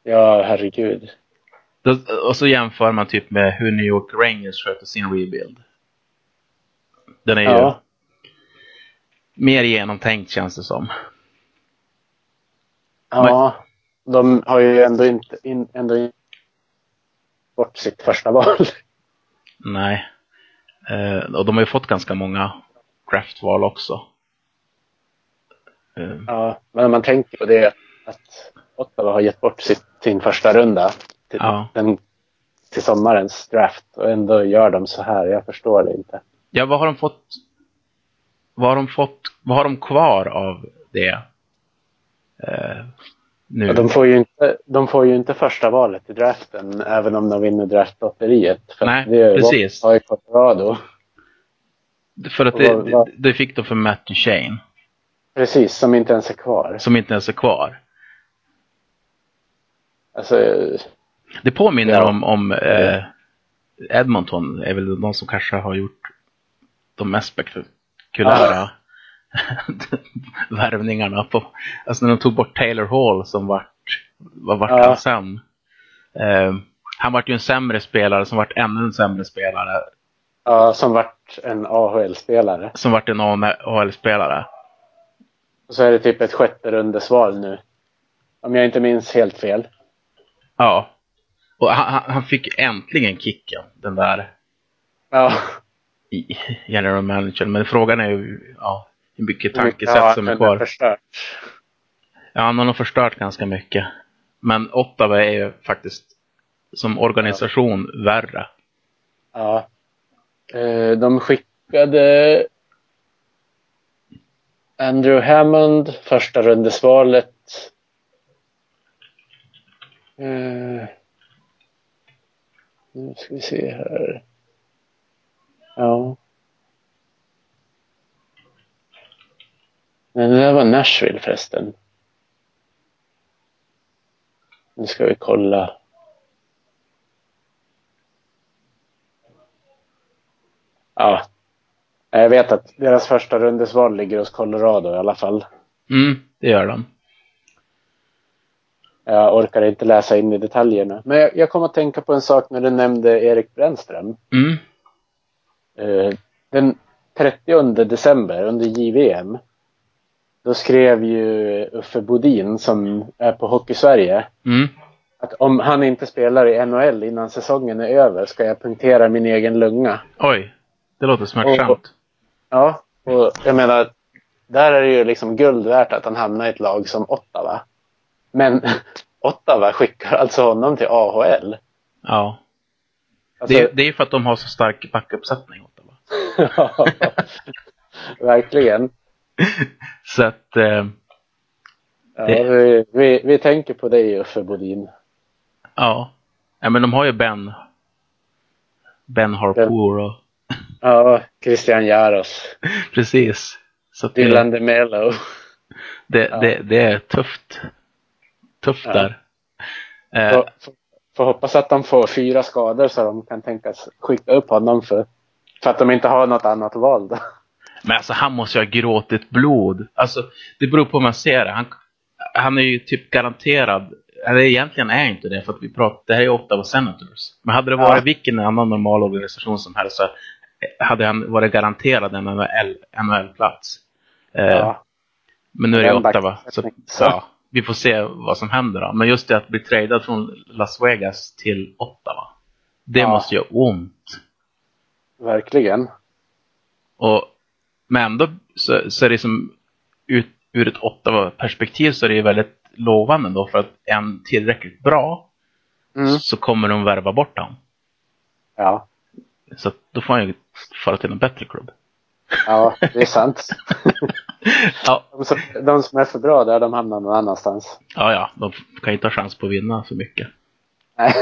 S4: Ja, herregud.
S3: Då- Och så jämför man typ med hur New York Rangers sköter sin rebuild. Den är ju
S4: Ja.
S3: mer genomtänkt känns det som.
S4: Ja, de har ju ändå inte in, ändå in, bort sitt första val. (laughs)
S3: Nej. Eh, och de har ju fått ganska många draftval också. Eh,
S4: Ja, men om man tänker på det att Ottawa har gett bort sitt, sin första runda till,
S3: Ja.
S4: den, till sommarens draft och ändå gör de så här. Jag förstår det inte.
S3: ja, vad har de fått? Vad har de fått? Vad har de kvar av det? Eh, nu?
S4: Och de, får ju inte, de får ju inte första valet i draften även om de vinner draftlotteriet. för
S3: Nej,
S4: att det är ju
S3: precis.
S4: Ottawa i Colorado.
S3: För att det, det, det fick de för Matt Duchene,
S4: Precis, som inte ens är kvar.
S3: som inte ens är kvar.
S4: Alltså,
S3: Det påminner
S4: Ja.
S3: om, om eh, Edmonton är väl de som kanske har gjort de mest spektakulära (laughs) värvningarna. På, alltså när de tog bort Taylor Hall som vart, vad vart
S4: Ja.
S3: han sen? Eh, Han vart ju en sämre spelare som vart ännu en sämre spelare.
S4: Ja, som vart en AHL-spelare.
S3: Som vart en AHL-spelare.
S4: Och så är det typ ett sjätte rundesval nu. Om jag inte minns helt fel.
S3: Ja. Och han, han- han fick äntligen kicken, den där
S4: Ja,
S3: i- general managern. Men frågan är ju ja, hur mycket tankesätt
S4: Ja,
S3: som
S4: den
S3: är kvar.
S4: förstört.
S3: Ja, han har nog förstört ganska mycket. Men Ottawa är ju faktiskt som organisation värre.
S4: Ja. Eh, De skickade Andrew Hammond, första rundesvalet. Eh, Nu ska vi se här. Ja. Nej, det där var Nashville förresten. Nu ska vi kolla. Ja. Jag vet att deras första rundesval ligger hos Colorado i alla fall.
S3: Mm, det gör de.
S4: Jag orkar inte läsa in i detaljerna. Men jag, jag kom att tänka på en sak när du nämnde Erik Brännström.
S3: Mm,
S4: Eh, Den 30 december under JVM. Då skrev ju Uffe Bodin som är på Hockey Sverige.
S3: mm.
S4: Att om han inte spelar i NHL innan säsongen är över ska jag punktera min egen lunga.
S3: Oj, det låter smärtsamt.
S4: Ja, och jag menar, där är det ju liksom guld värt att han hamnar i ett lag som Ottawa. Men (laughs) Ottawa skickar alltså honom till AHL.
S3: Ja.
S4: Alltså,
S3: Det, det är ju för att de har så stark backuppsättning. Ottawa.
S4: (laughs) verkligen.
S3: Så att, eh,
S4: Ja,
S3: Det-
S4: vi, vi, vi tänker på dig Uffe Bodin.
S3: ja. ja. men de har ju Ben. Ben Harpour och
S4: Ja, Christian Jaros.
S3: precis. Så att det,
S4: Dylan DeMello.
S3: det, det, det är tufft. Tufft
S4: Ja.
S3: där. Eh,
S4: (laughs) Får, får- får hoppas att de får fyra skador så de kan tänkas skicka upp honom för, för att de inte har något annat val. Då.
S3: Men alltså han måste ju ha gråtit blod. Alltså det beror på hur man ser det. Han, han är ju typ garanterad, eller egentligen är inte det för att vi pratar, det här är Ottawa Senators. Men hade det varit
S4: Ja.
S3: vilken annan normal organisation som helst så hade han varit garanterad en NHL NHL-plats. Eh,
S4: Ja.
S3: Men nu är det
S4: Den
S3: Ottawa. Så,
S4: backsättningen.
S3: så ja, vi får se vad som händer då. Men just det att bli tradad från Las Vegas till Ottawa. Det
S4: Ja.
S3: måste göra ont.
S4: Verkligen.
S3: Och, men ändå så, så är det som ut, ur ett Ottawa-perspektiv så är det ju väldigt lovande då för att en tillräckligt bra
S4: Mm.
S3: så kommer de värva bort honom.
S4: Ja.
S3: Så att då får han ju fara till en bättre
S4: (laughs)
S3: klubb.
S4: ja, det är sant.
S3: Ja,
S4: De som, de som är för bra där, de hamnar någon annanstans.
S3: ja, ja de kan ju inte ha chans på att vinna så mycket.
S4: Nej.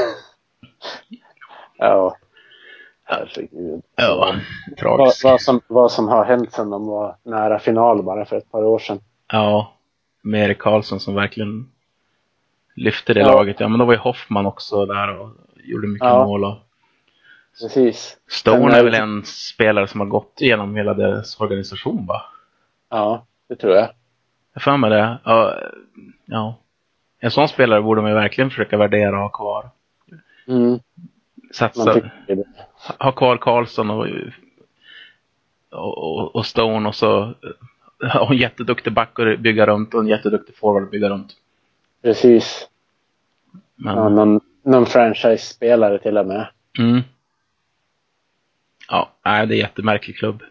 S4: Ja. Herregud.
S3: Ja,
S4: Vad,
S3: tragiskt.
S4: vad, som, vad som har hänt sedan de var nära final bara för ett par år sedan.
S3: Ja, med Erik Karlsson som verkligen lyfte det
S4: Ja.
S3: laget. Ja, men då var ju Hoffman också där och gjorde mycket
S4: Ja.
S3: mål. Och
S4: Precis.
S3: Stone
S4: Men,
S3: är
S4: eh,
S3: väl en spelare som har gått igenom hela deras organisation va?
S4: Ja, det tror jag.
S3: Jag för mig det. Ja, ja. En sån spelare borde man ju verkligen försöka värdera och ha kvar.
S4: Mm, man
S3: Satsa,
S4: tycker det.
S3: ha kvar Karlsson och, och, och Stone och så (laughs) och en jätteduktig back att bygga runt och en jätteduktig forward att bygga runt.
S4: Precis.
S3: Men,
S4: Ja, någon, någon franchise-spelare till och med.
S3: mm. Ja, nej, det är en jättemärklig klubb.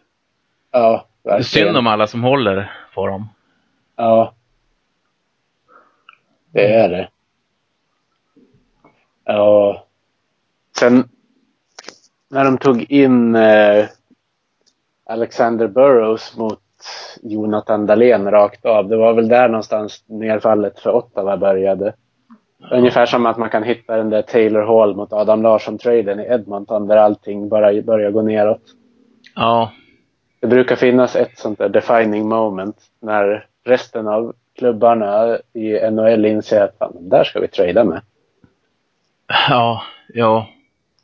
S4: Ja,
S3: Det är
S4: verkligen.
S3: synd om alla som håller på dem.
S4: Ja. Det är det. Ja. Sen när de tog in eh, Alexander Burrows mot Jonathan Dahlén rakt av. Det var väl där någonstans nerfallet för Ottawa började. Ungefär som att man kan hitta den där Taylor Hall mot Adam Larsson-traden i Edmonton där allting bara börjar gå neråt.
S3: Ja,
S4: Det brukar finnas ett sånt där defining moment när resten av klubbarna i NHL inser att "Fan, den där ska vi trada med.
S3: Ja, ja.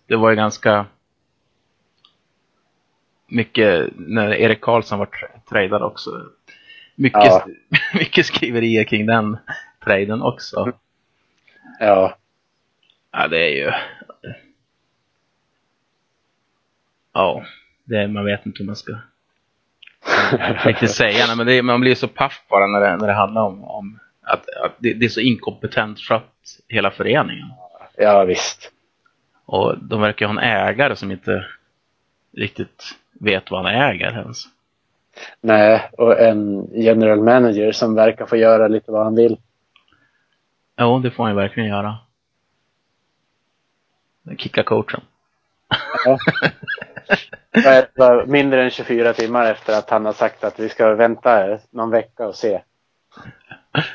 S3: Det var ju ganska mycket när Erik Karlsson var tra- tradad också. Mycket,
S4: Ja.
S3: (laughs) mycket skriverier kring den traden också.
S4: Ja,
S3: Ja, det är ju Ja, det, man vet inte hur man ska riktigt säga. Nej, men det, man blir så paff bara när det, när det handlar om, om att, att det, det är så inkompetent skött, hela föreningen.
S4: (laughs) Ja, visst.
S3: Och de verkar ju ha en ägare som inte riktigt vet vad han äger ens.
S4: Nej, och en general manager som verkar få göra lite vad han vill.
S3: Jo, det får han ju verkligen göra. Kicka coachen.
S4: Ja. Vad är det, bara Mindre än 24 timmar efter att han har sagt att vi ska vänta någon vecka och se.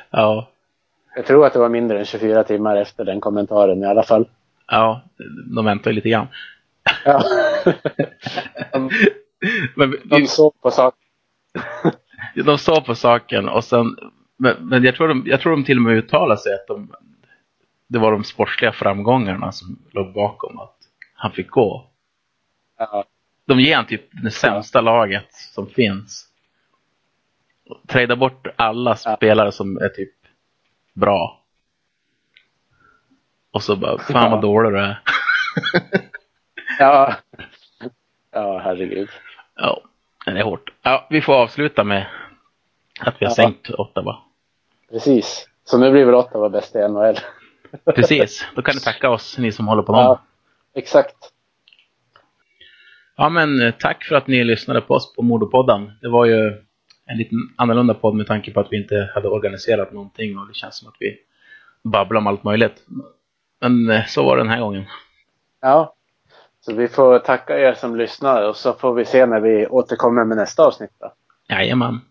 S3: Ja,
S4: Jag tror att det var mindre än 24 timmar efter den kommentaren i alla fall.
S3: ja, de väntar ju lite grann.
S4: Ja.
S3: Men vi-
S4: De såg på saker.
S3: De sa på saken och sen, men, men jag, tror de, jag tror de till och med uttalade sig att de, det var de sportsliga framgångarna som låg bakom att han fick gå.
S4: Ja.
S3: De ger han typ det sämsta laget som finns. Träda bort alla spelare som är typ bra. Och så bara, fan vad
S4: Ja.
S3: dålig du är.
S4: Ja. ja, herregud.
S3: Ja, det är hårt. Ja, vi får avsluta med att vi har
S4: Ja.
S3: sänkt Ottawa.
S4: (laughs) Precis. Så nu blir väl Ottawa bäst i NHL.
S3: Precis, då kan ni tacka oss, ni som håller på dem.
S4: Ja, exakt.
S3: Ja, men eh, tack för att ni lyssnade på oss på Mordopodden. Det var ju en liten annorlunda podd med tanke på att vi inte hade organiserat någonting och det känns som att vi babblar om allt möjligt. Men eh, så var det den här gången.
S4: Ja. Så vi får tacka er som lyssnar och så får vi se när vi återkommer med nästa avsnitt. Då.
S3: Jajamän.